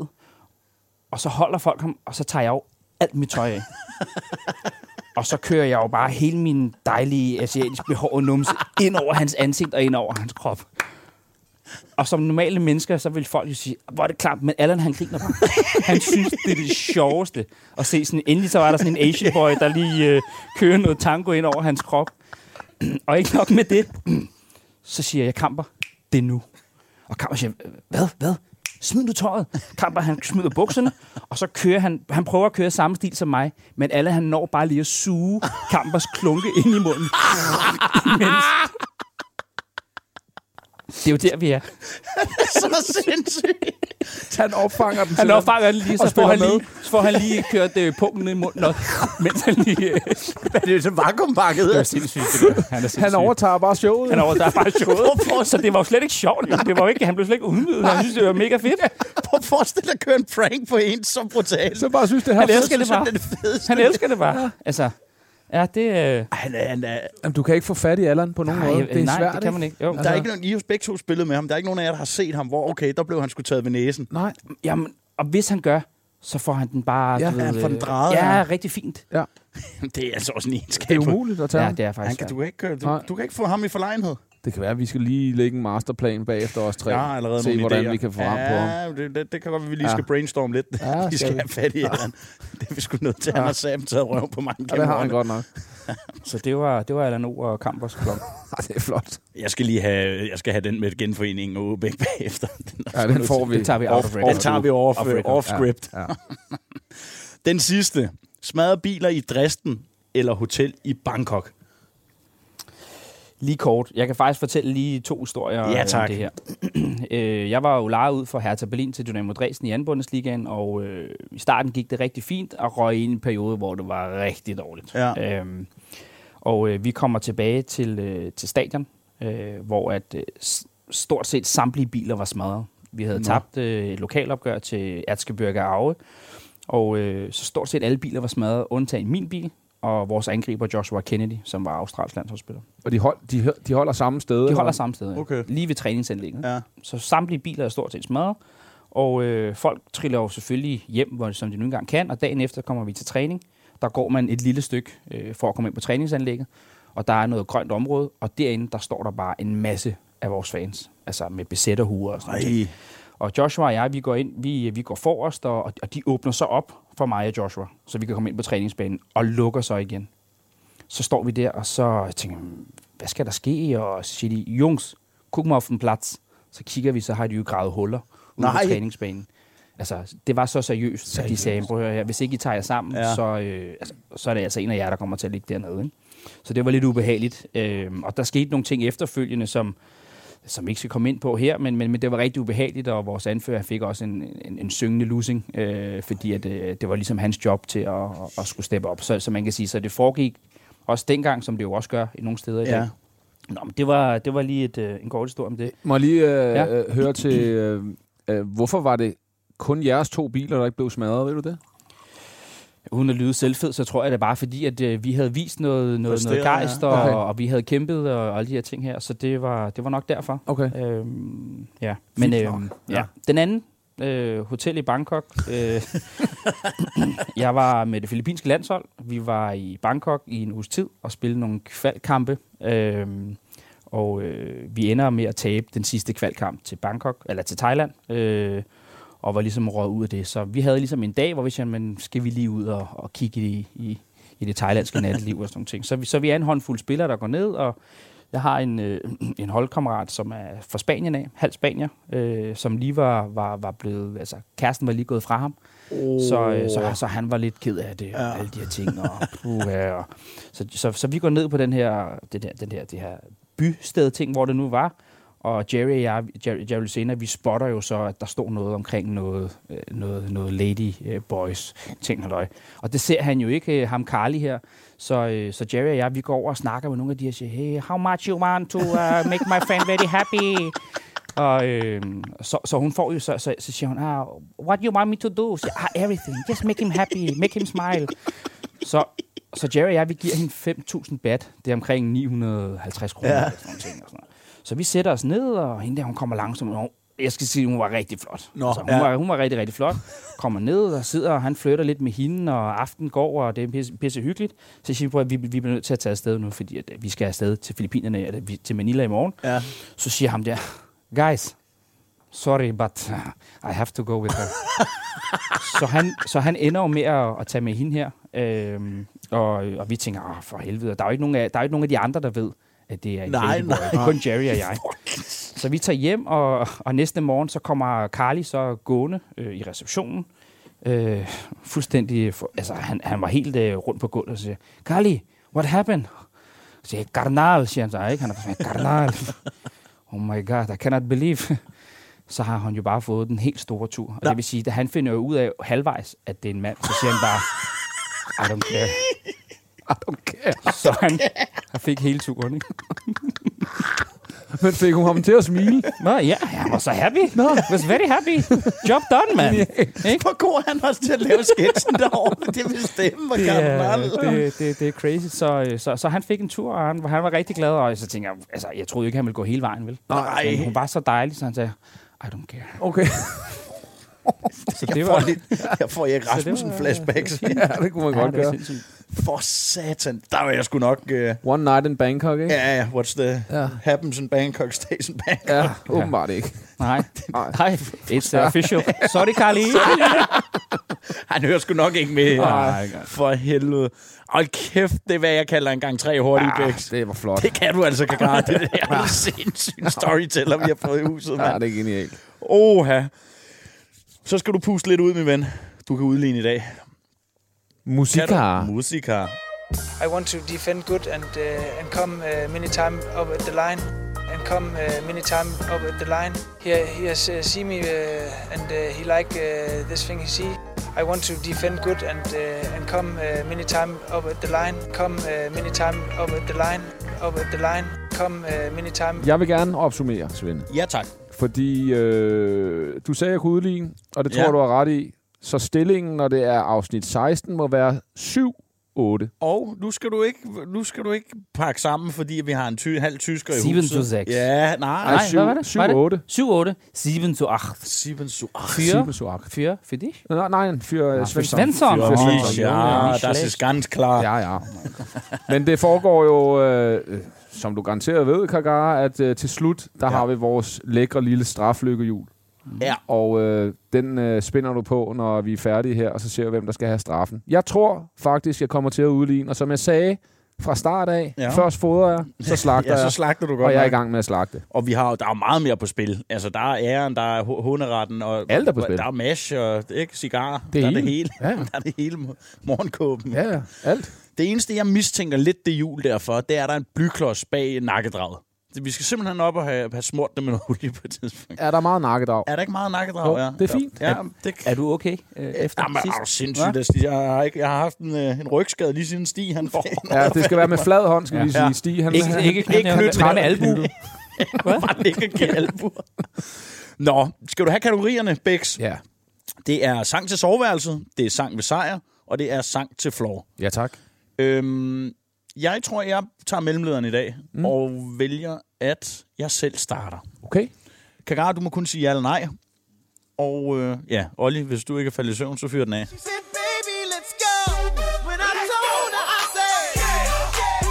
Speaker 4: og så holder folk ham, og så tager jeg jo alt mit tøj af. Og så kører jeg jo bare hele min dejlige asiatisk behårede numse ind over hans ansigt og ind over hans krop. Og som normale mennesker, så vil folk jo sige, hvor er det klart, men Allan han griner bare. Han synes, det er det sjoveste at se sådan, endelig så var der sådan en Asian boy, der lige øh, kører noget tango ind over hans krop. Og ikke nok med det, så siger jeg, kamper, det er nu. Og Kamper siger, hvad, hvad? Smid nu tøjet. Kamper, han smider bukserne, og så kører han, han prøver at køre samme stil som mig, men alle han når bare lige at suge Kampers klunke ind i munden. Mens... Det er jo der, vi er.
Speaker 1: så sindssygt.
Speaker 2: Han opfanger den.
Speaker 4: Han når fanger den lige,
Speaker 2: Og
Speaker 4: så
Speaker 2: spiller
Speaker 4: får han
Speaker 2: med.
Speaker 4: lige, så får han lige kørt øh, pungen ned i munden, og, mens han lige... Øh,
Speaker 1: Det er jo så vakuumpakket. altså.
Speaker 4: det var sindssygt, det der. Han er
Speaker 2: han overtager bare showet.
Speaker 4: Han er over, der er bare showet. Så det var jo slet ikke sjovt. jo. Det var jo ikke, han blev slet ikke udnyttet. Han synes, det var mega fedt.
Speaker 1: Prøv at forestille dig at køre en prank på en så brutal.
Speaker 2: Så bare synes, det her
Speaker 4: Han
Speaker 2: er
Speaker 4: elsker det bare.
Speaker 1: Det er det fedeste.
Speaker 4: Han elsker det bare. Altså, ja, det... Øh,
Speaker 1: Ej, Han er, han er,
Speaker 2: Jamen, du kan ikke få fat i Allan på nogen
Speaker 4: nej,
Speaker 2: måde.
Speaker 4: jeg-
Speaker 2: Det er
Speaker 4: nej,
Speaker 2: svært,
Speaker 4: det kan man ikke. Jo,
Speaker 1: der er ikke nogen, I har jo begge to spillet med ham. Der er ikke nogen af jer, der har set ham, hvor okay, der blev han sgu taget ved næsen.
Speaker 2: Nej.
Speaker 4: Jamen, og hvis han gør, så får han den bare...
Speaker 2: Ja,
Speaker 4: du
Speaker 1: han får den
Speaker 4: øh,
Speaker 1: drejet,
Speaker 4: Ja,
Speaker 1: ja.
Speaker 4: rigtig fint.
Speaker 2: Ja.
Speaker 1: Det er altså også en egenskab.
Speaker 2: Det er umuligt at tage
Speaker 4: Ja,
Speaker 2: ham.
Speaker 4: det er
Speaker 1: Han
Speaker 4: faktisk
Speaker 1: kan,
Speaker 4: svært.
Speaker 1: du, kan ikke, du,
Speaker 2: Nej.
Speaker 1: du kan ikke få ham i forlegenhed.
Speaker 2: Det kan være, at vi skal lige lægge en masterplan bagefter os tre.
Speaker 1: Jeg har allerede
Speaker 2: Se,
Speaker 1: nogle
Speaker 2: hvordan
Speaker 1: idéer.
Speaker 2: vi kan få ram på ham.
Speaker 1: ja, det, det, det kan godt være, vi lige
Speaker 2: Ja.
Speaker 1: skal brainstorme lidt.
Speaker 2: Ja,
Speaker 1: vi
Speaker 2: skal
Speaker 1: skal
Speaker 2: vi.
Speaker 1: have fat i ja. Det er vi sgu nødt til. Han har Sam taget røven på mange
Speaker 2: Ja, det har
Speaker 1: gennem
Speaker 2: han
Speaker 1: årene.
Speaker 2: godt nok.
Speaker 4: Så det var, det var Allan O og Kampers klok.
Speaker 2: Ja, det er flot.
Speaker 1: Jeg skal lige have, jeg skal have den med genforeningen og Åbæk bagefter. Den, er
Speaker 2: Ja,
Speaker 1: sgu
Speaker 2: den
Speaker 1: nødt
Speaker 2: får
Speaker 1: til-
Speaker 2: vi.
Speaker 4: Det tager vi out of record.
Speaker 1: Den tager vi off,
Speaker 4: Off record.
Speaker 1: off
Speaker 2: Ja,
Speaker 1: script.
Speaker 2: Ja.
Speaker 1: Den sidste. Smadre biler i Dresden eller hotel i Bangkok.
Speaker 4: Lige kort. Jeg kan faktisk fortælle lige to historier
Speaker 1: Ja,
Speaker 4: øh, om
Speaker 1: tak.
Speaker 4: det her. Øh, jeg var jo lejet ud fra Hertha Berlin til Dynamo Dresden i anden Bundesligaen, og øh, i starten gik det rigtig fint, og røg ind i en periode, hvor det var rigtig dårligt.
Speaker 1: Ja.
Speaker 4: Øhm, og øh, vi kommer tilbage til, øh, til stadion, øh, hvor at øh, s- stort set samtlige biler var smadret. Vi havde Nå. tabt øh, et lokalopgør til Erzgebirge Aue, og øh, så stort set alle biler var smadret, undtagen min bil og vores angriber Joshua Kennedy, som var Australiens landsholdsspiller.
Speaker 2: Og de, hold, de, hø- de holder samme sted.
Speaker 4: De
Speaker 2: eller
Speaker 4: holder
Speaker 2: hvad?
Speaker 4: samme sted, ja.
Speaker 1: Okay.
Speaker 4: lige ved træningsanlægget.
Speaker 1: Ja.
Speaker 4: Så samtlige biler er stort set smadret, og øh, folk triller jo selvfølgelig hjem, hvor, som de nu engang kan, og dagen efter kommer vi til træning. Der går man et lille stykke øh, for at komme ind på træningsanlægget, og der er noget grønt område, og derinde, der står der bare en masse af vores fans, altså med besætterhuer og sådan noget.
Speaker 1: Ej.
Speaker 4: Og Joshua og jeg, vi går ind, vi, vi går forrest, og, og de åbner så op for mig og Joshua, så vi kan komme ind på træningsbanen, og lukker så igen. Så står vi der, og så tænker jeg, "Hmm, hvad skal der ske? Og så siger de, Jungs, kug mig auf den plads. Så kigger vi, så har de jo gravet huller ude
Speaker 1: Nej.
Speaker 4: på træningsbanen. Altså, det var så seriøst, seriøst. at de sagde, prøv at høre her, hvis ikke I tager jer sammen,
Speaker 1: Ja.
Speaker 4: ja. så, øh, altså, så er det altså en af jer, der kommer til at ligge dernede. Ikke? Så det var lidt ubehageligt. Øh, og der skete nogle ting efterfølgende, som, som vi ikke skal komme ind på her, men, men, men det var rigtig ubehageligt, og vores anfører fik også en, en, en syngende lussing, øh, fordi at, øh, det var ligesom hans job til at, at skulle steppe op. Så, så man kan sige, så det foregik også dengang, som det jo også gør i nogle steder i
Speaker 1: Ja.
Speaker 4: dag. Nå, men det var, det var lige et, øh, en kort historie om det.
Speaker 2: Må jeg lige øh,
Speaker 4: Ja.
Speaker 2: ja. høre til, øh, øh, hvorfor var det kun jeres to biler, der ikke blev smadret, ved du det?
Speaker 4: Uden at lyde selvfed, så tror jeg det er bare fordi, at øh, vi havde vist noget, noget, noget
Speaker 1: Præsteret,
Speaker 4: gejst,
Speaker 1: ja.
Speaker 4: og, okay.
Speaker 2: Okay.
Speaker 4: og vi havde kæmpet og alle de her ting her, så det var, det var nok derfor.
Speaker 2: Okay.
Speaker 4: Øhm, ja. Men
Speaker 1: Vildt nok.
Speaker 4: øhm, ja.
Speaker 1: Ja.
Speaker 4: ja. den anden, øh, hotel i Bangkok. Øh, jeg var med det filippinske landshold. Vi var i Bangkok i en uges tid og spillede nogle kvalkampe. Øh, og øh, vi ender med at tabe den sidste kvalkamp til Bangkok, eller til Thailand. Øh, og var ligesom røget ud af det. Så vi havde ligesom en dag, hvor vi sagde, men skal vi lige ud og, og kigge i, i, i det thailandske natteliv og sådan nogle ting. Så vi, så vi er en håndfuld spillere, der går ned, og jeg har en, øh, en holdkammerat, som er fra Spanien af, halv spanier, øh, som lige var, var, var blevet, altså kæresten var lige gået fra ham, oh. så, øh, så, så han var lidt ked af det, ja. og alle de her ting, og puha, og, så, så, så vi går ned på den her, den her, den her, det her bysted-ting, hvor det nu var, og Jerry og jeg, Jerry, Jerry Lucena, vi spotter jo så, at der står noget omkring noget, øh, noget, noget lady øh, boys ting og løg. Og det ser han jo ikke, øh, ham Carly her. Så, øh, så Jerry og jeg, vi går over og snakker med nogle af de her, og siger, hey, how much you want to uh, make my friend very happy? Og øh, så, så hun får jo, så, så, så siger hun, ah, what you want me to do? Så, jeg, ah, everything, just make him happy, make him smile. Så, så Jerry og jeg, vi giver hende 5.000 bat. Det er omkring 950 kroner. Ja. Og sådan nogle ting og sådan noget. Så vi sætter os ned, og hende der, hun kommer langsomt. Og jeg skal sige, hun var rigtig flot.
Speaker 1: Nå,
Speaker 4: altså, hun,
Speaker 1: ja.
Speaker 4: var, hun var rigtig, rigtig flot. Kommer ned og sidder, og han flytter lidt med hende, og aften går, og det er pisse, pisse hyggeligt. Så siger vi, "Prøv at vi, vi bliver nødt til at tage afsted nu, fordi at, øh, vi skal afsted til Filippinerne, eller vi- til Manila i morgen.
Speaker 1: Ja.
Speaker 4: Så siger ham der, guys, sorry, but uh, I have to go with her. så, han, så han ender jo med at, at tage med hende her. Øhm, og, og vi tænker, Åh, for helvede, Og der er jo ikke nogen af, der er jo ikke nogen af de andre, der ved, at det er en
Speaker 1: Nej,
Speaker 4: baby boy.
Speaker 1: nej.
Speaker 4: Det er kun Jerry og jeg. Så vi tager hjem, og, og næste morgen, så kommer Carly så gående øh, i receptionen. Øh, fuldstændig, for, altså han, han var helt øh, rundt på gulvet og siger, Carly, what happened? Så siger jeg, Garnal, siger han så, ikke? Han er sådan, Garnal. oh my god, I cannot believe. Så har han jo bare fået den helt store tur. Og det vil sige, at han finder jo ud af halvvejs, at det er en mand. Så siger han bare, I don't care.
Speaker 2: Okay.
Speaker 4: Så han, han fik hele turen, ikke?
Speaker 2: Men fik hun ham til at smile?
Speaker 4: Nå, ja, jeg var så happy. No. was very happy. Job done, man. Ikke?
Speaker 1: Hvor god er han også til at lave sketsen derovre. Det vil stemme, hvor
Speaker 4: Det er,
Speaker 1: gammel
Speaker 4: det, det, det er crazy. Så, øh, så, så han fik en tur, og han, han var rigtig glad. Og så tænkte jeg, altså, jeg troede jo ikke, han ville gå hele vejen, vel?
Speaker 1: Nej.
Speaker 4: Men hun var så dejlig, så han sagde, I don't care.
Speaker 2: Okay.
Speaker 4: Så
Speaker 1: Jeg
Speaker 4: det
Speaker 1: får,
Speaker 4: var...
Speaker 1: lidt, jeg får Erik Rasmussen flashbacks.
Speaker 2: ja, det kunne man
Speaker 4: Ja,
Speaker 2: godt
Speaker 4: det var
Speaker 2: gøre.
Speaker 4: sindssygt.
Speaker 1: For satan. Der var jeg sgu nok... øh,
Speaker 2: One night in Bangkok, ikke?
Speaker 1: Ja, ja, what's the...
Speaker 2: Ja.
Speaker 1: Happens in Bangkok, stays in Bangkok.
Speaker 2: Ja, åbenbart ikke.
Speaker 4: Nej,
Speaker 2: Nej.
Speaker 4: nej, it's uh, official. Sorry, Carly.
Speaker 1: Han hører sgu nok ikke med.
Speaker 2: Nej.
Speaker 1: For helvede. Og kæft, det er, hvad jeg kalder en gang tre hurtige ja, bæks. Det.
Speaker 2: Det var flot.
Speaker 1: det kan du altså, Kakar. Det der er en sindssyg storyteller, vi har fået i huset,
Speaker 2: Ja,
Speaker 1: mand.
Speaker 2: det er genialt.
Speaker 1: Oha. Så skal du puste lidt ud, min ven. Du kan udligne i dag. Kan du?
Speaker 2: Musikar.
Speaker 1: Musikar.
Speaker 7: I want to defend good and uh, and come uh, many time up at the line and come uh, many time up at the line. He he has uh, seen me uh, and uh, he like uh, this thing he see. I want to defend good and uh, and come uh, many time up at the line. Come uh, many time up at the line. Up at the line. Come uh, many time
Speaker 2: Jeg vil gerne opsummere, Svend.
Speaker 1: Ja, tak.
Speaker 2: Fordi øh, du sagde, at jeg kunne udligne, og det tror
Speaker 1: Ja.
Speaker 2: ja. du har ret i. Så stillingen, når det er afsnit 16, må være 7 8.
Speaker 1: Og nu skal du ikke, nu skal du ikke pakke sammen, fordi vi har en ty, halv tysker i
Speaker 4: Sieben
Speaker 1: huset.
Speaker 4: zu sechs.
Speaker 1: Ja, nej.
Speaker 4: Nej,
Speaker 2: syv-
Speaker 4: hvad var det?
Speaker 2: syv,
Speaker 4: Var det?
Speaker 2: otte.
Speaker 4: 7, 8, 7 zu 8.
Speaker 1: Sieben zu acht.
Speaker 4: Fyr,
Speaker 2: Sieben zu acht.
Speaker 4: Fyr für dich?
Speaker 2: Nå, nein, für äh, Svensson.
Speaker 4: Svensson.
Speaker 2: Für
Speaker 4: Für
Speaker 2: Svensson.
Speaker 4: Svensson.
Speaker 1: Ja,
Speaker 4: Nicht
Speaker 1: das
Speaker 4: schlecht.
Speaker 1: ist ganz klar.
Speaker 2: Ja, ja. Men det foregår jo, øh, øh, som du garanteret ved, Kagara, at øh, til slut, der ja. har vi vores lækre lille straflykkehjul.
Speaker 1: Ja.
Speaker 2: Og øh, den øh, spinder du på, når vi er færdige her, og så ser vi, hvem der skal have straffen. Jeg tror faktisk, jeg kommer til at udligne, og som jeg sagde fra start af,
Speaker 1: Ja.
Speaker 2: ja. først fodrer jeg, så slagter
Speaker 1: Ja, så
Speaker 2: jeg,
Speaker 1: slagter du godt
Speaker 2: og jeg er i
Speaker 1: nok.
Speaker 2: gang med at slagte.
Speaker 1: Og vi har, jo- der er jo meget mere på spil. Altså, der er æren, der er hu- hunderetten, og
Speaker 2: Alt er på spil.
Speaker 1: der er mash, og ikke, cigar.
Speaker 2: Det
Speaker 1: der er
Speaker 2: hele.
Speaker 1: det hele.
Speaker 2: Ja.
Speaker 1: Der er det hele mo- morgenkåben.
Speaker 2: Ja, ja, alt.
Speaker 1: Det eneste, jeg mistænker lidt det jul derfor, det er, at der er en blyklods bag nakkedraget. Så vi skal simpelthen op og have, have smurt det med noget olie på et tidspunkt.
Speaker 2: Er der meget nakkedrag?
Speaker 1: Er der ikke meget nakkedrag?
Speaker 2: Jo,
Speaker 1: ja?
Speaker 2: det er fint.
Speaker 1: Ja, det
Speaker 4: Er du okay øh, efter
Speaker 1: Jamen, er du
Speaker 4: sidst?
Speaker 1: sindssygt. Altså, Jeg har, ikke, jeg har haft en, øh, en rygskade lige siden Stig, han får.
Speaker 2: Ja, det skal være med flad hånd, skal vi lige sige. Stig, han,
Speaker 4: Ikke,
Speaker 2: han-
Speaker 4: ikke knytnæve,
Speaker 1: ikke knytnæve.
Speaker 4: bare med albu.
Speaker 1: Bare ikke at give albuer. Nå, skal du have kategorierne, Bex?
Speaker 2: Ja.
Speaker 1: Det er sang til soveværelset, det er sang ved sejr, og det er sang til floor.
Speaker 2: ja, tak.
Speaker 1: Øhm, jeg tror, jeg tager mellemlederen i dag, mm. og vælger, at jeg selv starter.
Speaker 2: Okay.
Speaker 1: Kagara, du må kun sige ja eller nej. Og øh, ja, Olli, hvis du ikke er faldet i søvn, så fyr den af.
Speaker 8: said, baby, let's go. When I told her, I said, yeah, yeah.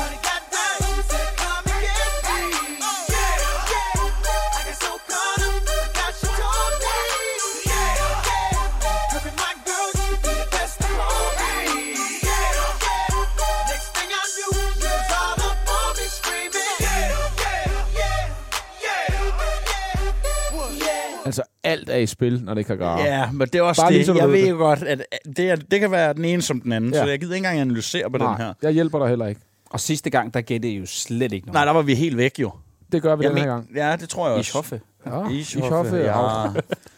Speaker 8: When it got down, she said, come and get me. Oh, Yeah, yeah. I got so caught up, I got you told me. Yeah, yeah. Her and my girl, she be the best of all me. Yeah, yeah. Next thing I knew, you was all up on me screaming. Yeah, yeah, yeah, yeah, yeah.
Speaker 2: Altså, alt er i spil, når det ikke har gara.
Speaker 1: Ja, men det er også
Speaker 2: Ah.
Speaker 1: Bare
Speaker 2: Bare lige,
Speaker 1: det.
Speaker 2: så du
Speaker 1: jeg
Speaker 2: ved
Speaker 1: ved
Speaker 2: det.
Speaker 1: jo godt, at det, er, det kan være den ene som den anden, ja.
Speaker 2: Ja.
Speaker 1: så jeg gider ikke engang analysere på den her.
Speaker 2: Nej, jeg hjælper dig heller ikke.
Speaker 4: Og sidste gang, der gættede I jo slet ikke noget.
Speaker 1: Nej, der var vi helt væk jo.
Speaker 2: Det gør vi
Speaker 1: Jeg
Speaker 2: den her
Speaker 1: men-
Speaker 2: gang.
Speaker 1: Ja, det tror jeg også.
Speaker 4: Ischhoffe.
Speaker 2: Ja,
Speaker 1: Ischhoffe, ja.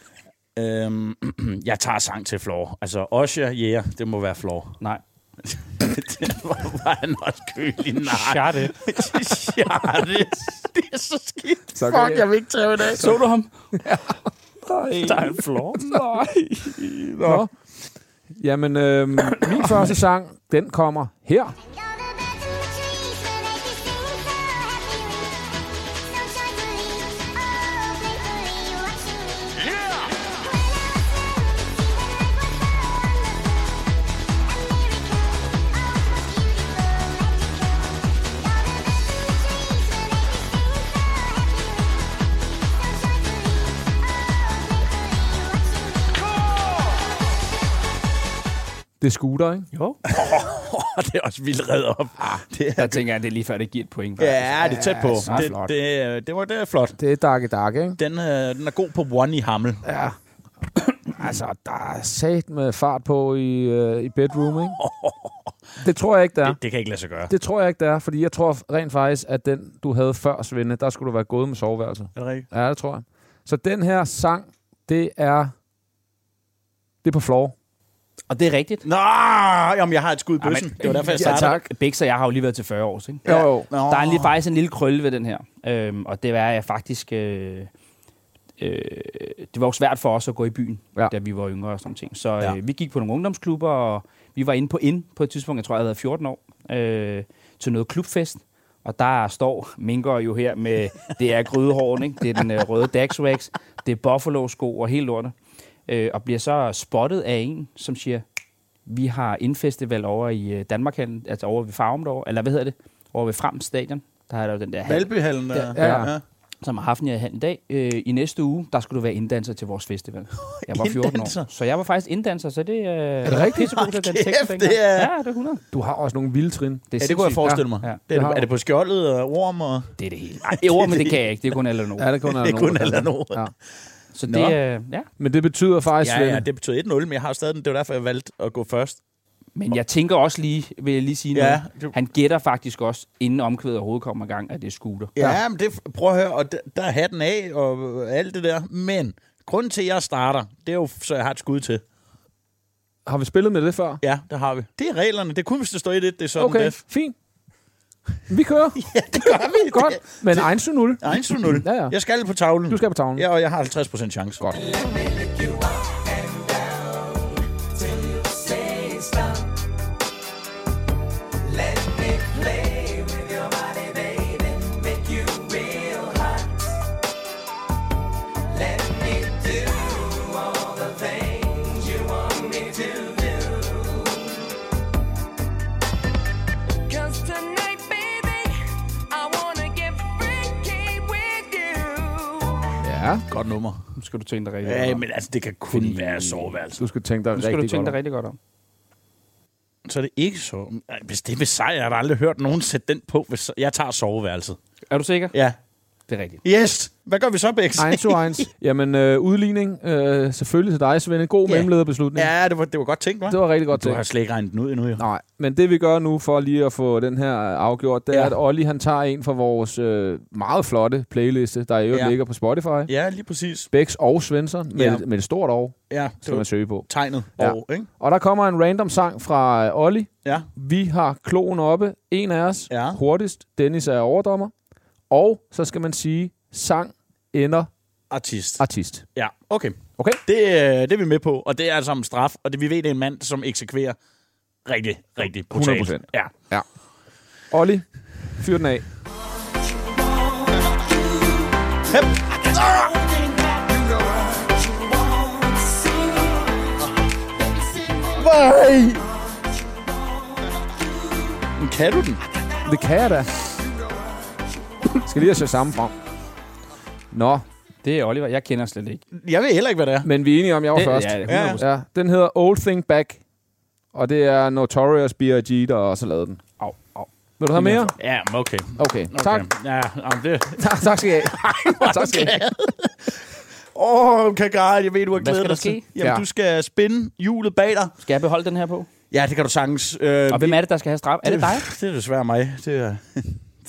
Speaker 1: øhm, jeg tager sang til Flor. Altså, Osha, yeah, det må være Flor.
Speaker 4: Nej.
Speaker 1: det var, var han også kølig. Nej,
Speaker 4: Charde.
Speaker 1: ja, det, det er så skidt.
Speaker 2: Så kan jeg...
Speaker 1: vil ikke tage det af.
Speaker 4: Så du ham?
Speaker 1: Der er en Flor.
Speaker 2: Nå. Jamen, øhm, min første sang, den kommer her. Det er scooter, ikke?
Speaker 4: Jo.
Speaker 1: Åh, det er også vildt reddet op. Ah, Det er,
Speaker 4: Der tænker jeg, det er lige før, det giver et point.
Speaker 1: ja, det er tæt på.
Speaker 4: så
Speaker 1: det,
Speaker 4: flot.
Speaker 1: det, er- det, var, det er flot.
Speaker 2: Det er Dark Dark, ikke?
Speaker 1: Den, øh, den er god på one i Hammel. Mm.
Speaker 2: Altså, der er sat med fart på i, øh, i bedroom, ikke? Det tror jeg ikke, der er.
Speaker 1: Det kan ikke lade sig gøre.
Speaker 2: Det tror jeg ikke, der er, fordi jeg tror rent faktisk, at den, du havde før, Svende, der skulle du være gået med soveværelse.
Speaker 1: Er det rigtigt?
Speaker 2: Ja, det tror jeg. Så den her sang, det er... Det er på floor.
Speaker 4: Og det er rigtigt.
Speaker 1: Nå, jamen, jeg har et skud i bøssen. det var derfor, jeg startede.
Speaker 4: Bix og jeg har jo lige været til 40 år, ikke?
Speaker 2: Jo, jo.
Speaker 1: Nå.
Speaker 4: Der er lige, faktisk en lille krølle ved den her. Øhm, og det er, at jeg faktisk... Øh, øh, det var jo svært for os at gå i byen,
Speaker 2: Ja.
Speaker 4: ja. da vi var yngre og sådan nogle ting. Så
Speaker 1: Ja.
Speaker 4: øh, vi gik på nogle ungdomsklubber, og vi var inde på ind på et tidspunkt, jeg tror, jeg havde været 14 år, øh, til noget klubfest. Og der står Minker jo her med, det er grydehården, ikke? det er den øh, røde Daxwax, det er Buffalo-sko og hele lortet. Øh, og bliver så spottet af en, som siger, vi har indfestival over i øh, Danmark, altså over ved Farum derovre, eller hvad hedder det? Over ved Frem Stadion. Der er der jo den der hal,
Speaker 1: Valbyhallen der.
Speaker 2: Ja, ja.
Speaker 4: som har haft en hal i dag. Øh, I næste uge, der skulle du være inddanser til vores festival. Jeg var 14
Speaker 1: Inddanser?
Speaker 4: år. Så jeg var faktisk inddanser, så det øh, er
Speaker 2: det rigtigt?
Speaker 4: Pissegod, den
Speaker 1: Kæft,
Speaker 4: tekst,
Speaker 1: det er-
Speaker 4: Ja, det er 100.
Speaker 2: Du har også nogle vilde trin.
Speaker 4: Det er,
Speaker 1: Ja, det kunne jeg
Speaker 4: sindssygt.
Speaker 1: forestille mig.
Speaker 4: Ja, ja.
Speaker 1: Det er,
Speaker 2: har-
Speaker 1: er det på skjoldet og orm? Og...
Speaker 4: Det er det hele. Ej, jo, men det kan jeg ikke. Det er kun alle nogen.
Speaker 2: Ja, det kun er
Speaker 1: Det er
Speaker 2: nogen,
Speaker 1: kun
Speaker 2: der
Speaker 1: alle
Speaker 2: kan.
Speaker 1: nogen.
Speaker 2: Ja.
Speaker 4: Så
Speaker 1: Nå.
Speaker 4: det, øh, ja.
Speaker 2: Men det betyder faktisk,
Speaker 1: Ja, ja,
Speaker 2: Svende-
Speaker 1: det betød 1-0, men jeg har stadig den. Det var derfor, jeg valgte at gå først.
Speaker 4: Men jeg tænker også lige, vil jeg lige sige
Speaker 1: Ja,
Speaker 4: noget.
Speaker 1: du-
Speaker 4: Han gætter faktisk også, inden omkvædet overhovedet kommer i gang, at det er scooter.
Speaker 1: Ja, men det, prøv at høre, og d- der er hatten af og alt det der. Men grunden til, at jeg starter, det er jo, så jeg har et skud til.
Speaker 2: har vi spillet med det før?
Speaker 1: Ja, det har vi. Det er reglerne. Det er kun, hvis det står i det, det er sådan
Speaker 2: Okay,
Speaker 1: det.
Speaker 2: fint. Vi kører.
Speaker 1: Ja, det gør vi.
Speaker 2: Godt. Men Einstein 0.
Speaker 1: Nej, 1-0.
Speaker 2: Ja, ja.
Speaker 1: Jeg skal på tavlen.
Speaker 2: Du skal på tavlen.
Speaker 1: Ja, og jeg har 50% chance. Godt.
Speaker 8: Till you say stop.
Speaker 2: Ja.
Speaker 1: Godt nummer.
Speaker 4: Nu skal du tænke dig rigtig
Speaker 1: Ja,
Speaker 4: godt om.
Speaker 1: men altså, det kan kun Fordi... være soveværelset.
Speaker 2: Du skal tænke dig
Speaker 4: Nu
Speaker 2: rigtig
Speaker 4: skal du tænke
Speaker 2: godt
Speaker 4: dig
Speaker 2: om.
Speaker 4: rigtig godt om.
Speaker 1: Så er det ikke så. Ej, Hvis det er ved sejr, jeg har da aldrig hørt nogen sætte den på. Hvis jeg tager soveværelset.
Speaker 4: Er du sikker?
Speaker 1: Ja.
Speaker 4: Det er rigtigt.
Speaker 1: Yes! Hvad gør vi så, Bex?
Speaker 2: Eins zu eins. Jamen, øh, udligning. Øh, selvfølgelig til dig, Svend. En god
Speaker 1: Ja.
Speaker 2: yeah. mellemlederbeslutning.
Speaker 1: Ja, det var, det var godt tænkt, hva'?
Speaker 2: Det var rigtig godt
Speaker 1: Du
Speaker 2: tænkt.
Speaker 1: har slet ikke regnet den ud endnu, jo.
Speaker 2: Nej, men det vi gør nu for lige at få den her øh, afgjort, det ja.
Speaker 1: Ja.
Speaker 2: er, at Olli han tager en fra vores øh, meget flotte playliste, der i øvrigt ja.
Speaker 1: Ja.
Speaker 2: ligger på Spotify. Ja.
Speaker 1: Ja, lige præcis.
Speaker 2: Bex og Svensson med,
Speaker 1: Ja.
Speaker 2: ja. med et stort år,
Speaker 1: Ja, det
Speaker 2: skal man
Speaker 1: var
Speaker 2: søge på.
Speaker 1: tegnet.
Speaker 2: Ja.
Speaker 1: Ja. Og, ikke?
Speaker 2: Og der kommer en random sang fra øh, Olli.
Speaker 1: Ja.
Speaker 2: Vi har kloen oppe, en af os,
Speaker 1: Ja.
Speaker 2: hurtigst. Dennis er overdommer. Og så skal man sige, sang ender
Speaker 1: Artist.
Speaker 2: artist.
Speaker 1: Ja, okay.
Speaker 2: Okay.
Speaker 1: Det, øh, det er vi med på, og det er altså en straf, og det vi ved, det er en mand, som eksekverer rigtig, rigtig brutalt.
Speaker 2: 100%.
Speaker 1: Ja.
Speaker 2: Olli, fyr den af.
Speaker 1: Hep. Nej! Men Kan du den?
Speaker 2: Det kan jeg da. Skal lige have se sammen frem. Nå,
Speaker 4: Det er Oliver. Jeg kender slet ikke.
Speaker 1: Jeg ved heller ikke, hvad det er.
Speaker 2: men vi er enige om, at jeg var
Speaker 4: Det-
Speaker 2: først.
Speaker 4: ja, det er
Speaker 1: Ja.
Speaker 4: 100%.
Speaker 2: Ja, den hedder Old Thing Back. Og det er Notorious B.I.G., der også har lavet den.
Speaker 4: Au, au.
Speaker 2: Vil du have mere?
Speaker 1: Ja, men okay.
Speaker 2: Okay, tak.
Speaker 1: Okay. Ja, jamen det...
Speaker 2: tak. Tak skal I have. tak skal I have.
Speaker 1: Åh, oh, Kagari, jeg ved, du har
Speaker 4: skal
Speaker 1: glædet
Speaker 4: der
Speaker 1: dig til.
Speaker 4: ske?
Speaker 1: Jamen,
Speaker 2: Ja.
Speaker 1: ja. du skal spinde hjulet bag dig.
Speaker 4: Skal jeg beholde den her på?
Speaker 1: Ja, det kan du sagtens. Øh,
Speaker 4: Og hvem er det, der skal have straf? Er det dig?
Speaker 1: Det er desværre mig. Det er,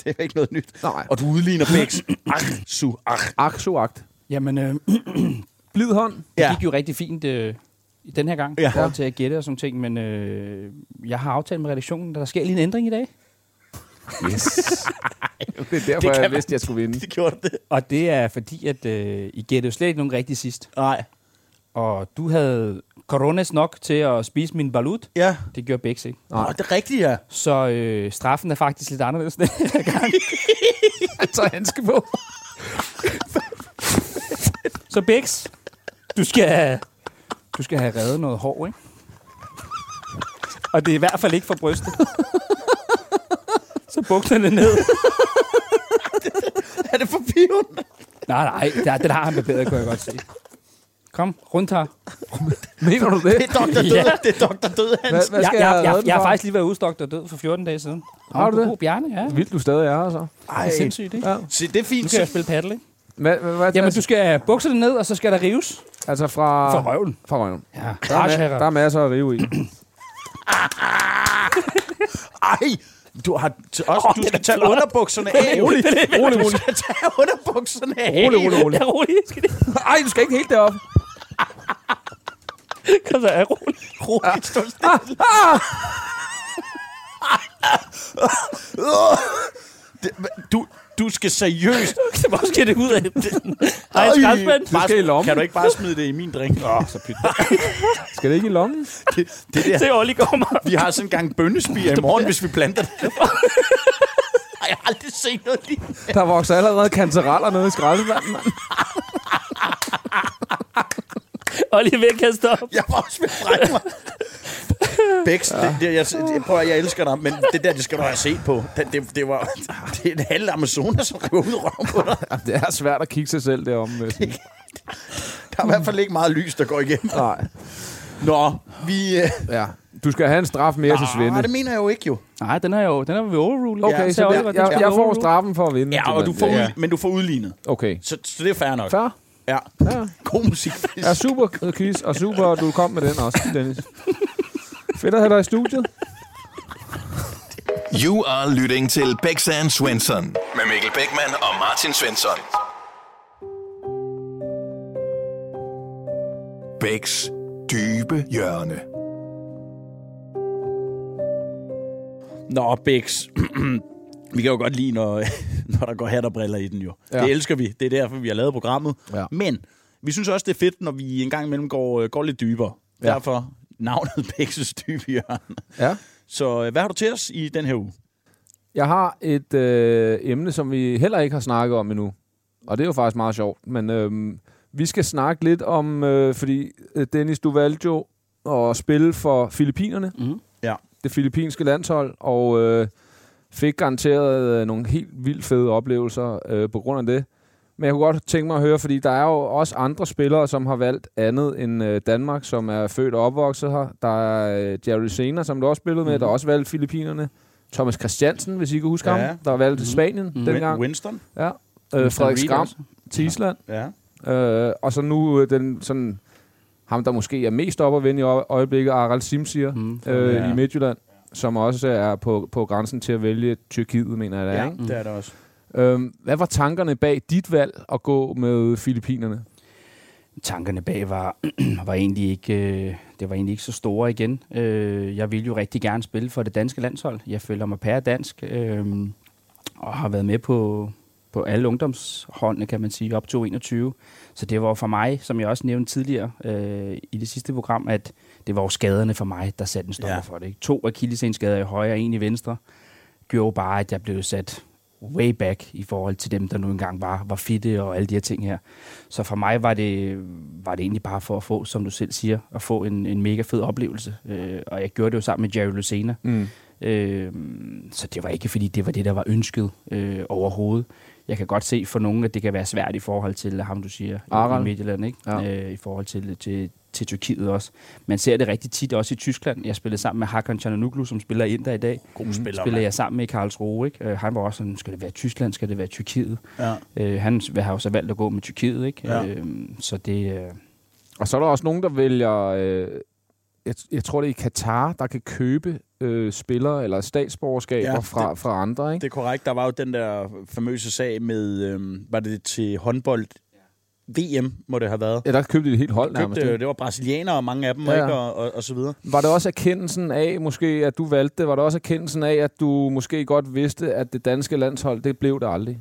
Speaker 1: det er ikke noget nyt.
Speaker 2: Nej.
Speaker 1: Og du udligner Bex. Ach, su, ach.
Speaker 2: Aksuagt.
Speaker 4: Jamen, øh,
Speaker 2: Blid hånd.
Speaker 4: det
Speaker 1: Ja.
Speaker 4: gik jo rigtig fint øh, i den her gang.
Speaker 1: Ja.
Speaker 4: Ja. til at gætte og sådan ting, men øh, jeg har aftalt med redaktionen, at der sker lige en ændring i dag.
Speaker 2: Yes. det er derfor,
Speaker 1: Det kan
Speaker 2: jeg
Speaker 1: man-
Speaker 2: vidste, jeg skulle vinde.
Speaker 1: Det gjorde det.
Speaker 4: Og det er fordi, at øh, I gættede jo slet ikke nogen rigtig sidst.
Speaker 1: Nej.
Speaker 4: Og du havde coronas nok til at spise min balut.
Speaker 1: Ja.
Speaker 4: Det gjorde Bix, ikke?
Speaker 1: Nå, det er rigtigt, ja.
Speaker 4: Så øh, straffen er faktisk lidt anderledes den her gang.
Speaker 2: Jeg tager handske på.
Speaker 4: Så Bix, du skal, du skal have reddet noget hår, ikke? Og det er i hvert fald ikke for brystet. Så bukserne ned.
Speaker 1: Er det for piven?
Speaker 4: Nej, nej, der, den har han barberet, kunne jeg godt se. Kom, rundt her.
Speaker 2: Mener du det?
Speaker 1: Det er doktor død.
Speaker 4: Ja.
Speaker 1: Det er doktor død,
Speaker 2: Hvad,
Speaker 1: Hans.
Speaker 2: hvad
Speaker 4: Jeg,
Speaker 2: skal
Speaker 4: jeg,
Speaker 2: jeg, have
Speaker 4: jeg, jeg,
Speaker 2: reddet den
Speaker 4: jeg har
Speaker 2: for?
Speaker 4: faktisk lige været udstokt og død for 14 dage siden.
Speaker 2: Har du det?
Speaker 4: God, Bjarne, ja. Det
Speaker 2: Vildt, du stadig er her, så.
Speaker 1: Ej,
Speaker 4: er sindssygt, ikke?
Speaker 2: Ja.
Speaker 1: se, det er
Speaker 4: Nu
Speaker 1: fint.
Speaker 4: kan jeg spille paddle, ikke?
Speaker 2: Hvad, hvad, hvad,
Speaker 4: Jamen,
Speaker 2: altså,
Speaker 4: du skal have bukserne ned, og så skal der rives.
Speaker 2: altså fra...
Speaker 4: For røven.
Speaker 2: Fra røven.
Speaker 4: Ja,
Speaker 2: Der er, ma- der er masser at rive i.
Speaker 1: Ej, du har t- også,
Speaker 4: Åh,
Speaker 1: du
Speaker 4: den
Speaker 1: skal
Speaker 4: er
Speaker 1: tage
Speaker 4: flot.
Speaker 1: underbukserne af.
Speaker 2: Rolig, rolig,
Speaker 1: Du
Speaker 2: rolig.
Speaker 1: skal tage underbukserne af.
Speaker 2: Rolig, rolig, rolig.
Speaker 4: Ja, rolig. Skal det
Speaker 2: Ej, du skal ikke helt derop.
Speaker 4: ikke så er rolig.
Speaker 1: Rolig, stå stille. Det- Du, du skal seriøst...
Speaker 4: Så måske er det ud af den. Ej,
Speaker 1: Ej,
Speaker 4: skraldspand.
Speaker 2: Du skal i lommen.
Speaker 1: Kan du ikke bare smide det i min drink? Åh, oh, så pyt.
Speaker 2: Skal det ikke i lommen?
Speaker 1: Det, det der.
Speaker 4: Se, Olli kommer.
Speaker 1: Vi har sådan en gang bønnespiger i morgen, hvis vi planter det. Ej, jeg har aldrig set noget lige.
Speaker 2: Der vokser allerede kantereller nede i skraldespanden, mand.
Speaker 4: Olli er ved at kaste op.
Speaker 1: Jeg var også ved at brække mig. Bex, det, det, jeg, det, prøv, at- jeg elsker dig, men det der, det skal du have set på. Det, det, det, var, det er en halv Amazonas, som river ud røven på dig.
Speaker 2: Det er svært at kigge sig selv deromme. Med sådan.
Speaker 1: Der er i hvert fald ikke meget lys, der går igennem.
Speaker 2: Nej.
Speaker 1: Nå, vi... Øh,
Speaker 2: Ja. Du skal have en straf mere til Svende.
Speaker 1: nej, det mener jeg jo ikke, jo.
Speaker 4: Nej, den er jo den er vi overrulet.
Speaker 2: Okay,
Speaker 1: Ja,
Speaker 2: så
Speaker 1: så
Speaker 2: jeg,
Speaker 1: det-
Speaker 2: jeg,
Speaker 1: det-
Speaker 2: jeg får straffen for at vinde.
Speaker 1: Ja, Ah, og du får,
Speaker 2: simpelthen.
Speaker 1: ja. men du får udlignet.
Speaker 2: Okay.
Speaker 1: Så, så det er fair nok.
Speaker 2: Fair.
Speaker 1: Ja.
Speaker 2: Ja.
Speaker 1: God musik.
Speaker 2: Ja, super quiz, og super, at du kom med den også, Dennis. Fedt at have dig i studiet.
Speaker 3: You are lytting til Bex and Svensson. Med Mikkel Bækman og Martin Svensson. Bæks dybe hjørne.
Speaker 1: Nå, Bix. vi kan jo godt lide, når, når der går hat og briller i den jo.
Speaker 2: Ja.
Speaker 1: Ja. Det elsker vi. Det er derfor, vi har lavet programmet.
Speaker 2: Ja.
Speaker 1: Men vi synes også, det er fedt, når vi en gang imellem går, øh, går lidt dybere.
Speaker 2: Ja.
Speaker 1: Ja. Derfor navnet Bixes dybe hjørne.
Speaker 2: Ja.
Speaker 1: Så øh, hvad har du til os i den her uge?
Speaker 2: Jeg har et øh, emne, som vi heller ikke har snakket om endnu. Og det er jo faktisk meget sjovt. Men øh, vi skal snakke lidt om, øh, fordi øh, Dennis, du valgte jo at spille for Filippinerne.
Speaker 4: Mhm.
Speaker 1: Ja.
Speaker 2: Det filippinske landshold. Og øh, fik garanteret øh, nogle helt vildt fede oplevelser øh, på grund af det. Men jeg kunne godt tænke mig at høre, fordi der er jo også andre spillere, som har valgt andet end øh, Danmark, som er født og opvokset her. Der er øh, Jerry Sener, som du også spillede med, mm. der har også valgt Filippinerne. Thomas Christiansen, hvis I kan huske
Speaker 1: Ja.
Speaker 2: ja. ham, der har valgt mm. Spanien mm. dengang.
Speaker 1: Winston?
Speaker 2: Ja. Øh, Frederik
Speaker 4: Reed
Speaker 2: Skram,
Speaker 4: også.
Speaker 2: Tisland.
Speaker 1: Ja.
Speaker 2: Øh, og så nu øh, den sådan, ham, der måske er mest op at vinde i øje- øjeblikket, Aral Simsier mm. øh,
Speaker 1: Ja.
Speaker 2: i Midtjylland, som også er på, på grænsen til at vælge Tyrkiet, mener jeg, det er.
Speaker 1: Ja,
Speaker 2: Ikke?
Speaker 1: det er det også.
Speaker 2: Øhm, hvad var tankerne bag dit valg at gå med Filippinerne?
Speaker 4: tankerne bag var, var egentlig ikke, øh, det var egentlig ikke så store igen. Øh, jeg ville jo rigtig gerne spille for det danske landshold. Jeg føler mig pæredansk, øh, og har været med på, på alle ungdomsholdene, kan man sige, op til 21. Så det var for mig, som jeg også nævnte tidligere øh, i det sidste program, at det var jo skaderne for mig, der satte en stopper
Speaker 1: Ja.
Speaker 4: ja. for det. Ikke? To akillesensskader i højre og en i venstre gjorde jo bare, at jeg blev sat way back i forhold til dem, der nu engang var, var fitte og alle de her ting her. Så for mig var det, var det egentlig bare for at få, som du selv siger, at få en, en mega fed oplevelse. Øh, og jeg gjorde det jo sammen med Jerry Lucena.
Speaker 2: Mm.
Speaker 4: Øh, så det var ikke, fordi det var det, der var ønsket øh, overhovedet. Jeg kan godt se for nogen, at det kan være svært i forhold til ham, du siger,
Speaker 2: Aral.
Speaker 4: i- i Midtjylland, ikke?
Speaker 2: Ja.
Speaker 4: Ja. Øh, i forhold til, til, til Tyrkiet også. Man ser det rigtig tit også i Tyskland. Jeg spillede sammen med Hakan Cananoglu, som spiller ind der i dag.
Speaker 1: God spiller,
Speaker 4: Spiller
Speaker 1: mand.
Speaker 4: jeg sammen med i Karlsruhe, ikke? Øh, han var også sådan, skal det være Tyskland, skal det være Tyrkiet?
Speaker 1: Ja.
Speaker 4: Øh, han har jo så valgt at gå med Tyrkiet, ikke?
Speaker 1: Ja.
Speaker 4: Øh, så det... Øh,
Speaker 2: Og så er der også nogen, der vælger... Øh, jeg, jeg tror, det er i Katar, der kan købe øh, spillere eller statsborgerskaber
Speaker 1: Ja,
Speaker 2: ja, fra,
Speaker 1: det-
Speaker 2: fra andre. Ikke?
Speaker 1: Det er korrekt. Der var jo den der famøse sag med, øhm, var det til håndbold? VM må det have været.
Speaker 2: ja, der købte de et helt hold nærmest.
Speaker 1: Købte, øh, det var brasilianere, mange af dem, ja.
Speaker 2: Ja.
Speaker 1: ikke? Og, og, og så videre.
Speaker 2: Var det også erkendelsen af, måske, at du valgte det? Var det også erkendelsen af, at du måske godt vidste, at det danske landshold, det blev det aldrig?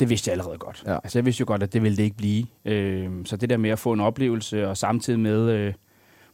Speaker 4: det vidste jeg allerede godt.
Speaker 2: Ja.
Speaker 4: Ja. Altså, jeg vidste jo godt, at det ville det ikke blive. Øhm, så det der med at få en oplevelse, og samtidig med øh,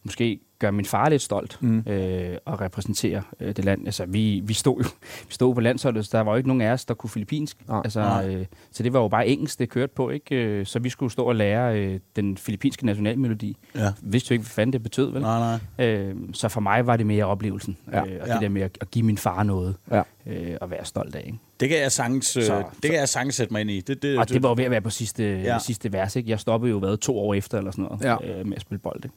Speaker 4: måske gøre min far lidt stolt
Speaker 2: Mm.
Speaker 4: mm. øh, og repræsentere øh, det land. Altså, vi, vi, stod jo, vi stod på landsholdet, så der var jo ikke nogen af os, der kunne filippinsk.
Speaker 2: Nej.
Speaker 4: Altså,
Speaker 1: Nej.
Speaker 4: øh, så det var jo bare engelsk, det kørte på, ikke? Øh, Så vi skulle stå og lære øh, den filippinske nationalmelodi.
Speaker 1: Ja.
Speaker 4: Vidste jo ikke, hvad fanden det betød, vel?
Speaker 1: Nej, nej.
Speaker 4: Øh, så for mig var det mere oplevelsen,
Speaker 2: Ja.
Speaker 4: ja. øh, og
Speaker 1: Ja.
Speaker 4: det der med at, at give min far noget
Speaker 2: Ja.
Speaker 4: øh, at være stolt af. Ikke?
Speaker 1: Det kan jeg sagtens, så,
Speaker 4: Så-
Speaker 1: det kan jeg sagtens sætte mig ind i. Det, det,
Speaker 4: Og det var jo ved at være på sidste,
Speaker 1: Ja.
Speaker 4: ja. sidste vers. Ikke? Jeg stoppede jo hvad, to år efter eller sådan noget
Speaker 2: Ja.
Speaker 4: ja. øh, med at spille bold. Ikke?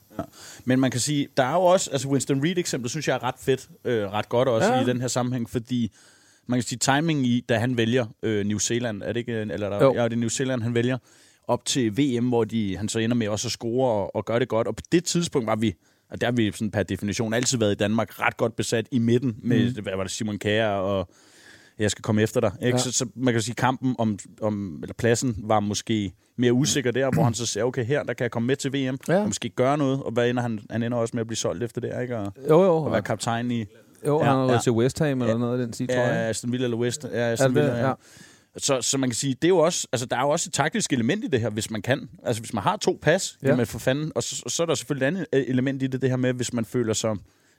Speaker 1: Men man kan sige, der er jo også, altså Winston Reed eksempel, synes jeg er ret fedt, øh, ret godt også ja.
Speaker 2: Ja.
Speaker 1: i den her sammenhæng, fordi man kan sige, timing i, da han vælger øh, New Zealand, er det ikke, eller der,
Speaker 2: Jo.
Speaker 1: ja, det er New Zealand, han vælger, op til VM, hvor de, han så ender med også at score og, og gøre det godt, og på det tidspunkt var vi, og der har vi sådan per definition altid været i Danmark, ret godt besat i midten med, mm. hvad var det, Simon Kjær og jeg skal komme efter dig. Ikke? Ja.
Speaker 2: Mhm. Ja.
Speaker 1: Så, så, man kan sige, kampen om, om, eller pladsen var måske mere usikker der, hvor han så siger, okay, her, der kan jeg komme med til VM,
Speaker 2: Ja.
Speaker 1: og måske gøre noget, og hvad ender han, han ender også med at blive solgt efter det, ikke? Og,
Speaker 2: Jo, jo.
Speaker 1: og være kaptajn i
Speaker 2: jo
Speaker 1: Ja,
Speaker 2: han har gået
Speaker 1: ja.
Speaker 2: til West Ham eller
Speaker 1: Ja.
Speaker 2: noget af den stil, tror jeg.
Speaker 1: ja, Aston Villa eller West. Ja,
Speaker 2: Er det
Speaker 1: Aston
Speaker 2: det?
Speaker 1: Villa, ja.
Speaker 2: Ja.
Speaker 1: Så, så man kan sige, det er jo også, altså, der er jo også et taktisk element i det her, hvis man kan. Altså hvis man har to pas, ja.
Speaker 2: Ja.
Speaker 1: jamen for fanden. Og så, så er der selvfølgelig et andet øh, element i det, det her med, hvis man føler sig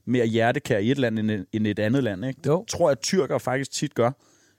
Speaker 1: mere hjertekær i et land end, et- end et andet land. Ikke? Det
Speaker 2: Jo.
Speaker 1: tror jeg, at tyrker faktisk tit gør.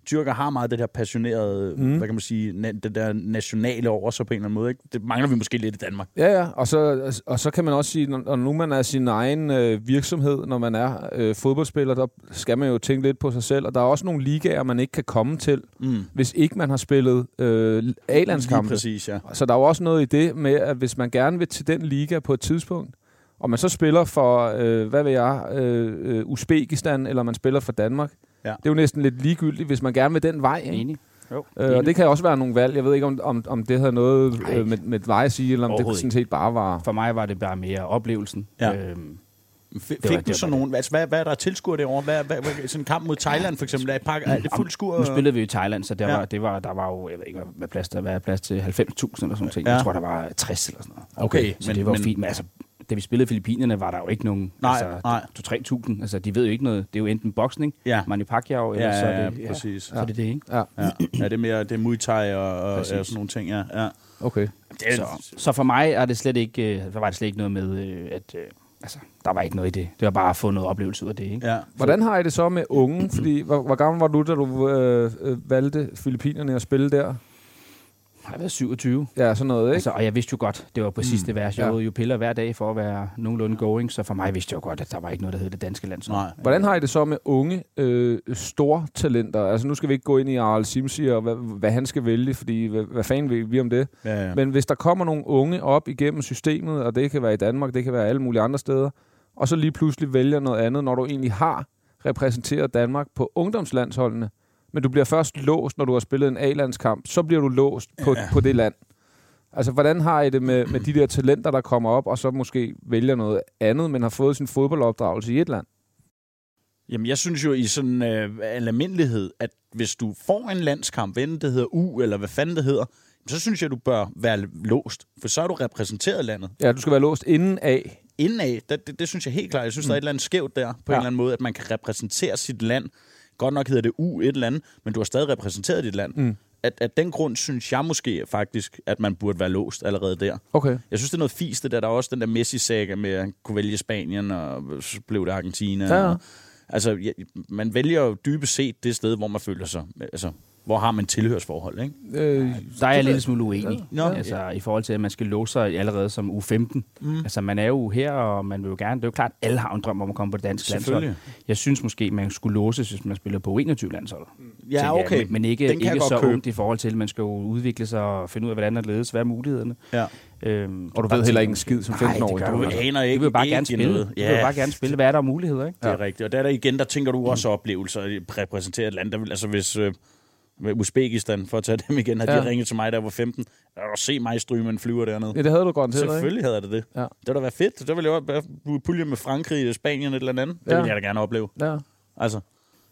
Speaker 1: Tyrker har meget det der passionerede, mm. hvad kan man sige, na- det der nationale over sig på en eller anden måde. Ikke? Det mangler vi måske lidt i Danmark.
Speaker 2: Ja, ja, og så, og så kan man også sige, når når nu man er sin egen øh, virksomhed, når man er øh, fodboldspiller, der skal man jo tænke lidt på sig selv, og der er også nogle ligaer, man ikke kan komme til,
Speaker 1: Mm.
Speaker 2: hvis ikke man har spillet øh,
Speaker 1: Lige
Speaker 2: A-landskampe.
Speaker 1: præcis, ja.
Speaker 2: Så der er jo også noget i det med, at hvis man gerne vil til den liga på et tidspunkt, og man så spiller for, øh, hvad ved jeg, øh, øh, Uzbekistan, eller man spiller for Danmark,
Speaker 1: Ja.
Speaker 2: det er jo næsten lidt ligegyldigt, hvis man gerne vil den vej. Ikke?
Speaker 4: Enig? Jo.
Speaker 2: Øh, og det kan også være nogle valg. Jeg ved ikke, om, om, om det havde noget
Speaker 4: Nej.
Speaker 2: øh, med, med vej at sige, eller om det
Speaker 4: Overhovedet
Speaker 2: sådan set bare var...
Speaker 4: For mig var det bare mere oplevelsen.
Speaker 1: Ja.
Speaker 4: Øhm,
Speaker 1: F-
Speaker 4: var-
Speaker 1: fik
Speaker 4: det
Speaker 1: du
Speaker 4: var
Speaker 1: sådan
Speaker 4: det.
Speaker 1: nogen, altså, hvad, hvad er der tilskuer derovre? Hvad, hvad, hvad, sådan en kamp mod Thailand for eksempel, er, I pak- er det fuldt skur?
Speaker 4: nu spillede vi jo i Thailand, så der,
Speaker 1: Ja.
Speaker 4: ja. var, det var, der var jo, jeg ved ikke, hvad plads der var, plads til 90.000 eller sådan noget.
Speaker 1: Ja.
Speaker 4: Ja. Jeg tror, der var 60 eller sådan noget.
Speaker 1: Okay,
Speaker 4: så
Speaker 1: men-
Speaker 4: men, det var
Speaker 1: men-
Speaker 4: men, fint. Men altså, da vi spillede i Filippinerne, var der jo ikke nogen...
Speaker 1: Nej, nej.
Speaker 4: altså, 2-3.000. Altså, de ved jo ikke noget. Det er jo enten boksning,
Speaker 1: Ja.
Speaker 4: Manny Pacquiao, eller
Speaker 1: Ja,
Speaker 4: så
Speaker 1: ja,
Speaker 4: er det...
Speaker 1: ja, præcis.
Speaker 4: Så er det det, ikke?
Speaker 1: Ja, ja det er mere det er Muay Thai og, og, og
Speaker 4: Præcis.
Speaker 1: sådan nogle ting, ja. ja.
Speaker 2: Okay.
Speaker 1: Det er,
Speaker 4: Så, så for mig er det slet ikke, øh, var det slet ikke noget med, øh, at øh, altså, der var ikke noget i det. Det var bare at få noget oplevelse ud af det. Ikke?
Speaker 1: ja.
Speaker 2: Hvordan har I det så med unge? Fordi, hvor, hvor gammel var du, da du øh, øh, valgte Filippinerne at spille der?
Speaker 4: har jeg været 27.
Speaker 2: Ja, sådan noget, ikke?
Speaker 4: Altså, og jeg vidste jo godt, det var på sidste vers. Jeg
Speaker 2: ja.
Speaker 4: ja. jo piller hver dag for at være nogenlunde going, så for mig vidste jeg jo godt, at der var ikke noget, der hed det danske landshold.
Speaker 1: Nej.
Speaker 2: Hvordan har I det så med unge, øh, store talenter? Altså, nu skal vi ikke gå ind i Arl Simsi og hvad, hvad han skal vælge, fordi hvad, hvad fanden ved vi om det?
Speaker 1: Ja, ja.
Speaker 2: Men hvis der kommer nogle unge op igennem systemet, og det kan være i Danmark, det kan være alle mulige andre steder, og så lige pludselig vælger noget andet, når du egentlig har repræsenteret Danmark på ungdomslandsholdene, men du bliver først låst, når du har spillet en A-landskamp, så bliver du låst på, ja. på det land. Altså, hvordan har I det med, med de der talenter, der kommer op, og så måske vælger noget andet, men har fået sin fodboldopdragelse i et land?
Speaker 1: Jamen, jeg synes jo i sådan øh, al almindelighed, at hvis du får en landskamp, hvad enten det hedder U, eller hvad fanden det hedder, så synes jeg, du bør være låst, for så er du repræsenteret landet.
Speaker 2: Ja, du skal være låst inden af.
Speaker 1: Indad, der, det, det synes jeg helt klart, jeg synes, mm. der er et eller andet skævt der, på ja.
Speaker 2: Ja.
Speaker 1: en eller anden måde, at man kan repræsentere sit land. Godt nok hedder det U et eller andet, men du har stadig repræsenteret dit land. Mm. At, at den grund synes jeg måske faktisk, at man burde være låst allerede der.
Speaker 2: Okay.
Speaker 1: Jeg synes, det er noget fisk, det der. Der er også den der Messi-saga med, at han kunne vælge Spanien, og så blev det Argentina.
Speaker 2: Ja.
Speaker 1: Og, altså, ja, man vælger jo dybest set det sted, hvor man føler sig. Altså, hvor har man tilhørsforhold, ikke?
Speaker 2: Øh,
Speaker 4: Der er jeg en lille smule uenig.
Speaker 1: Nå.
Speaker 4: Nå, altså, i forhold til, at man skal låse sig allerede som u 15. Mm. Altså, man er jo her, og man vil jo gerne... Det er jo klart, alle har en drøm om at komme på det danske landshold.
Speaker 1: Selvfølgelig.
Speaker 4: Jeg synes måske, man skulle låses, hvis man spiller på 21 landshold. tænker
Speaker 1: Mm. Ja,
Speaker 4: jeg.
Speaker 1: okay.
Speaker 4: Men, men ikke,
Speaker 1: Den kan jeg
Speaker 4: ikke
Speaker 1: godt
Speaker 4: så
Speaker 1: købe.
Speaker 4: ungt i forhold til, at man skal jo udvikle sig og finde ud af, hvordan der ledes. Hvad er mulighederne?
Speaker 1: Ja.
Speaker 4: Øhm,
Speaker 2: og du ved heller ikke en skid som
Speaker 4: Nej, det
Speaker 2: 15-årig.
Speaker 4: gør
Speaker 2: Du
Speaker 4: du
Speaker 2: ved
Speaker 4: ikke.
Speaker 1: aner ikke
Speaker 4: du vil jo bare
Speaker 1: ikke
Speaker 4: gerne spille.
Speaker 1: noget.
Speaker 4: Du vil
Speaker 1: Ja.
Speaker 4: jo bare gerne spille. Hvad er der af muligheder, ikke?
Speaker 1: Det er ja. rigtigt. Og der er der igen, der tænker du også oplevelser i at repræsentere et land. Der vil, altså hvis øh, med Uzbekistan, for at tage dem igen, havde ja.
Speaker 2: Ja.
Speaker 1: de ringet til mig, da jeg var 15. Der var se mig stryge med en flyver dernede.
Speaker 2: Ja, det havde du godt til, ikke?
Speaker 1: Selvfølgelig havde jeg det det.
Speaker 2: Ja.
Speaker 1: Ja. Det ville da være fedt. Det ville jeg jo være pulje med Frankrig, Spanien et eller andet. Det
Speaker 2: Ja.
Speaker 1: ville jeg da gerne opleve.
Speaker 2: Ja.
Speaker 1: Altså,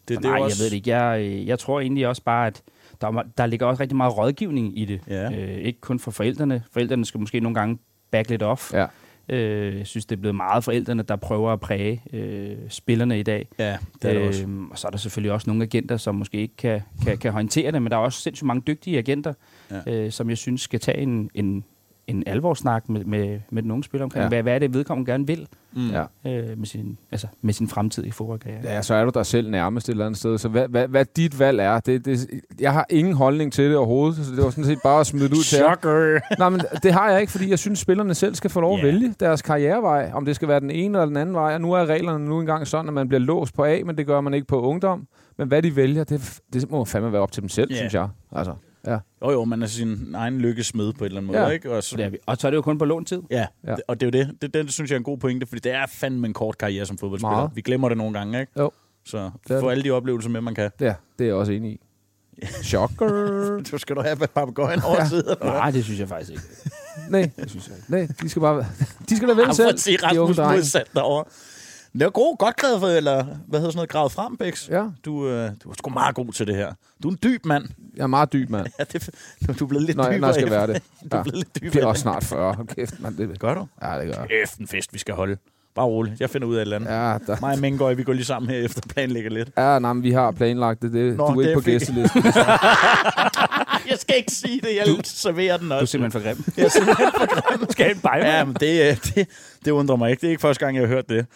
Speaker 1: det, det
Speaker 4: Nej,
Speaker 1: er jo
Speaker 4: jeg
Speaker 1: også...
Speaker 4: ved det ikke. Jeg, øh, jeg tror egentlig også bare, at der, er ma- der ligger også rigtig meget rådgivning i det.
Speaker 1: Ja.
Speaker 4: Øh, ikke kun for forældrene. Forældrene skal måske nogle gange back lidt off.
Speaker 2: Ja.
Speaker 4: Øh, jeg synes, det er blevet meget forældrene, der prøver at præge øh, spillerne i dag.
Speaker 1: Ja, det er
Speaker 2: Øh,
Speaker 1: det også.
Speaker 4: Øhm, og så er der selvfølgelig også nogle agenter, som måske ikke kan, kan, kan håndtere det, men der er også sindssygt mange dygtige agenter,
Speaker 1: Ja.
Speaker 4: ja. øh, som jeg synes skal tage en, en, en alvorsnak med, med, med den unge spiller omkring,
Speaker 2: Ja.
Speaker 4: ja. hvad, hvad er det, vedkommende gerne vil
Speaker 1: Mm.
Speaker 2: Ja.
Speaker 4: øh, med, sin, altså, med sin fremtidige fodboldkarriere.
Speaker 2: ja, så er du dig selv nærmest et eller andet sted. Så hvad, hvad, hvad dit valg er, det, det, jeg har ingen holdning til det overhovedet, så det var sådan set bare at smide det ud til jer.
Speaker 1: Shocker!
Speaker 2: Nej, men det har jeg ikke, fordi jeg synes, spillerne selv skal få lov at
Speaker 1: Ja.
Speaker 2: vælge deres karrierevej, om det skal være den ene eller den anden vej. Og nu er reglerne nu engang sådan, at man bliver låst på A, men det gør man ikke på ungdom. Men hvad de vælger, det, det må fandme være op til dem selv,
Speaker 1: Ja.
Speaker 2: yeah. synes jeg. Altså, ja.
Speaker 1: Jo, jo, man er sin egen lykkesmed på en eller anden måde,
Speaker 2: Ja.
Speaker 1: ja. ikke? Og så,
Speaker 4: Det er vi. Og så er det jo kun på låntid.
Speaker 1: Ja,
Speaker 2: Ja.
Speaker 1: ja, og det er jo det. det. Det synes jeg er en god pointe, fordi det er fandme en kort karriere som fodboldspiller.
Speaker 2: Meget.
Speaker 1: Meget. Vi glemmer det nogle gange, ikke?
Speaker 2: Jo.
Speaker 1: Så
Speaker 2: Det er
Speaker 1: få
Speaker 2: det.
Speaker 1: alle de oplevelser med, man kan.
Speaker 2: ja, det er jeg også enig i. Shocker!
Speaker 1: Så skal du have papagøjen over siden.
Speaker 4: Nej, det synes jeg faktisk ikke.
Speaker 2: Nej,
Speaker 4: Det synes jeg ikke.
Speaker 2: nej, de skal bare... De skal da vælge
Speaker 1: for
Speaker 2: selv,
Speaker 1: at sige
Speaker 2: de unge
Speaker 1: Rasmus
Speaker 2: drenge.
Speaker 1: modsat derovre. Det var god, godt gravet for, eller hvad hedder sådan noget, gravet frem, Bix.
Speaker 2: Ja,
Speaker 1: Du, øh, du er sgu meget god til det her. Du er en dyb mand.
Speaker 2: jeg er meget dyb, mand.
Speaker 1: Ja, det, du, du er blevet lidt
Speaker 2: Når jeg,
Speaker 1: dybere.
Speaker 2: når jeg skal
Speaker 1: efter-
Speaker 2: være det.
Speaker 1: Du
Speaker 2: Ja.
Speaker 1: er blevet lidt dybere.
Speaker 2: Det er også snart 40. Hold kæft, mand. Det,
Speaker 1: Gør du?
Speaker 2: ja, det gør jeg.
Speaker 1: Kæft, en fest, vi skal holde. Bare rolig. Jeg finder ud af et eller andet. Ja.
Speaker 2: Ja, der,
Speaker 1: Mig og Mengøj, vi går lige sammen her efter og planlægger lidt.
Speaker 2: ja nej, men vi har planlagt det. det
Speaker 1: Nå,
Speaker 2: du er
Speaker 1: det
Speaker 2: ikke på
Speaker 1: er fint.
Speaker 2: gæstelisten.
Speaker 1: Jeg skal ikke sige det. Jeg du, serverer den
Speaker 4: Du er
Speaker 1: også.
Speaker 4: simpelthen for grim. Jeg er simpelthen for grim. Skal jeg en bajer?
Speaker 1: Ja, men det, øh, det, det undrer mig ikke. Det er ikke første gang, jeg har hørt det.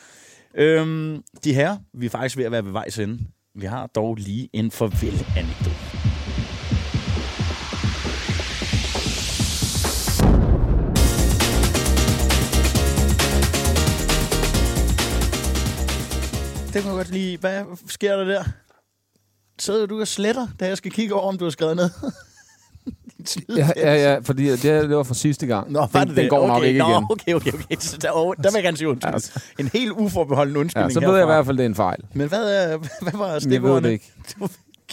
Speaker 1: Øhm, de her, vi er faktisk ved at være ved vejs ende. Vi har dog lige en farvel-anekdote. Det kunne jeg godt lide. Hvad sker der der? Sidder du og sletter, da jeg skal kigge over, om du har skrevet ned? Din slid-
Speaker 2: ja, ja, ja, fordi det, her, det var fra sidste gang.
Speaker 1: Nå, var
Speaker 2: den,
Speaker 1: det
Speaker 2: den
Speaker 1: det?
Speaker 2: går nok
Speaker 1: Okay,
Speaker 2: ikke
Speaker 1: nå,
Speaker 2: igen.
Speaker 1: Okay, okay, okay. Så der, oh, der vil jeg gerne sige undskyld.
Speaker 2: Altså.
Speaker 1: En helt uforbeholden
Speaker 2: Ja,
Speaker 1: undskyldning
Speaker 2: så ved jeg i
Speaker 1: herfra.
Speaker 2: hvert fald, det er en fejl.
Speaker 1: Men hvad, øh, hvad var
Speaker 2: Men jeg ved
Speaker 1: stikordene?
Speaker 2: det ikke.
Speaker 1: Du,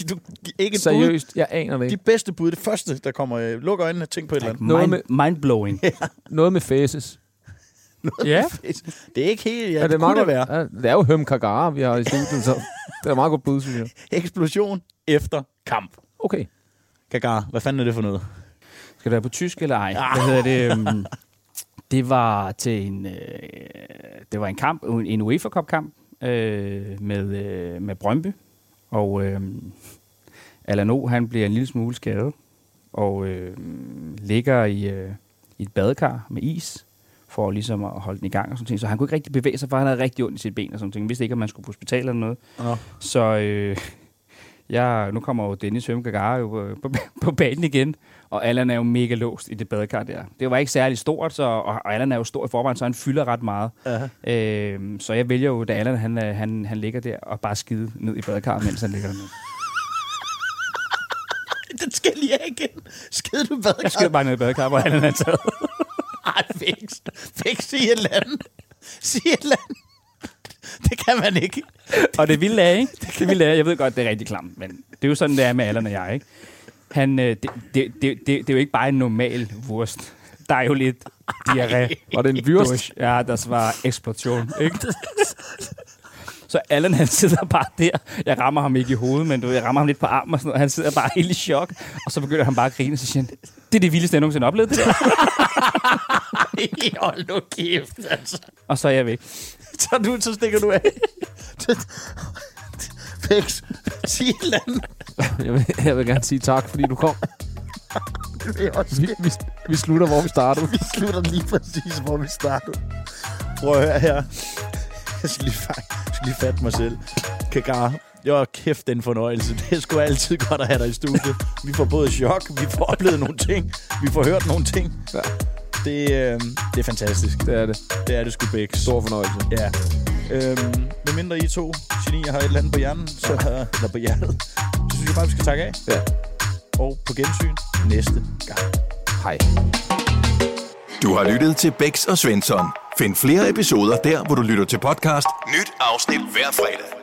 Speaker 1: du, ikke et Seriøst?
Speaker 2: Seriøst, jeg aner det
Speaker 1: bud. De
Speaker 2: ikke.
Speaker 1: bedste bud, det første, der kommer. øh, Luk øjnene og tænk på et eller andet.
Speaker 2: Noget
Speaker 4: Mind, mindblowing.
Speaker 2: Noget med faces.
Speaker 4: ja.
Speaker 1: Det er ikke helt... Ja,
Speaker 2: Ja,
Speaker 1: det, det kunne det
Speaker 2: godt-
Speaker 1: være.
Speaker 2: Ja, det er jo Høm Kagara, vi har i studiet, så det er meget godt bud, synes jeg.
Speaker 1: Eksplosion efter kamp.
Speaker 2: Okay.
Speaker 1: Kagar, hvad fanden er det for noget?
Speaker 4: Skal det være på tysk eller ej? Hvad hedder det? øhm, Det var til en, øh, det var en kamp, en- en UEFA Cup kamp øh, med, øh, med Brøndby. Og øh, Alano, han bliver en lille smule skadet og øh, ligger i, øh, i et badekar med is for ligesom at holde den i gang og sådan ting. Så han kunne ikke rigtig bevæge sig, for han havde rigtig ondt i sit ben og sådan ting. Han vidste ikke, om man skulle på hospital eller noget.
Speaker 1: Nå.
Speaker 4: Så øh, Jeg, nu kommer jo Dennis Hømgaard jo på, på, på banen igen, og Allan er jo mega låst i det badekar der. Det var ikke særlig stort, så, og, og Allan er jo stor i forvejen, så han fylder ret meget. Øhm, så jeg vælger jo, da Allan han, øh, han, han ligger der, og bare skide ned i badekarret, mens han ligger dernede.
Speaker 1: Den skal lige af igen. Skid du badekar.
Speaker 4: Jeg skider bare ned i badekarret, hvor Allan er taget.
Speaker 1: Ej, fix. Fix, sig et eller andet. Sig et eller andet. Det kan man ikke.
Speaker 4: Og det vilde er, ikke? Det vilde er, jeg ved godt, det er rigtig klamt, men det er jo sådan, det er med Allan og jeg, ikke? Han, øh, det, det, det, det, det er jo ikke bare en normal wurst. Der er jo lidt diarré.
Speaker 2: Var det en wurst?
Speaker 4: Durch. Ja, der var eksplosion, ikke? Så Allan, han sidder bare der. Jeg rammer ham ikke i hovedet, men du, ved, jeg rammer ham lidt på armen og sådan noget. Han sidder bare helt i chok, og så begynder han bare at grine, og så siger han, det er det vildeste, jeg nogensinde har oplevet det der.
Speaker 1: Ej, Hold nu kæft, altså.
Speaker 4: Og så er jeg væk.
Speaker 1: Så, du, så stikker du af. Fix, sig et eller andet.
Speaker 2: Jeg vil, jeg vil gerne sige tak, fordi du kom.
Speaker 1: Det vil jeg også
Speaker 2: Vi, vi, vi slutter, hvor vi startede.
Speaker 1: vi slutter lige præcis, hvor vi startede. Prøv at høre her. Jeg skal lige, fa- jeg skal lige fatte mig selv. Kagar, jeg var kæft den fornøjelse. Det er sgu altid godt at have dig i studiet. Vi får både chok, vi får oplevet nogle ting, vi får hørt nogle ting.
Speaker 2: Ja.
Speaker 1: Det, øh, det er fantastisk.
Speaker 2: Det er det.
Speaker 1: Det er det sgu begge.
Speaker 2: Stor fornøjelse.
Speaker 1: Ja. Øhm, med mindre I to genier har et eller andet på hjernen, så, eller på hjertet, så synes jeg bare, vi skal takke af.
Speaker 2: Ja.
Speaker 1: Og på gensyn næste gang.
Speaker 2: Hej.
Speaker 3: Du har lyttet til Bæks og Svensson. Find flere episoder der, hvor du lytter til podcast. Nyt afsnit hver fredag.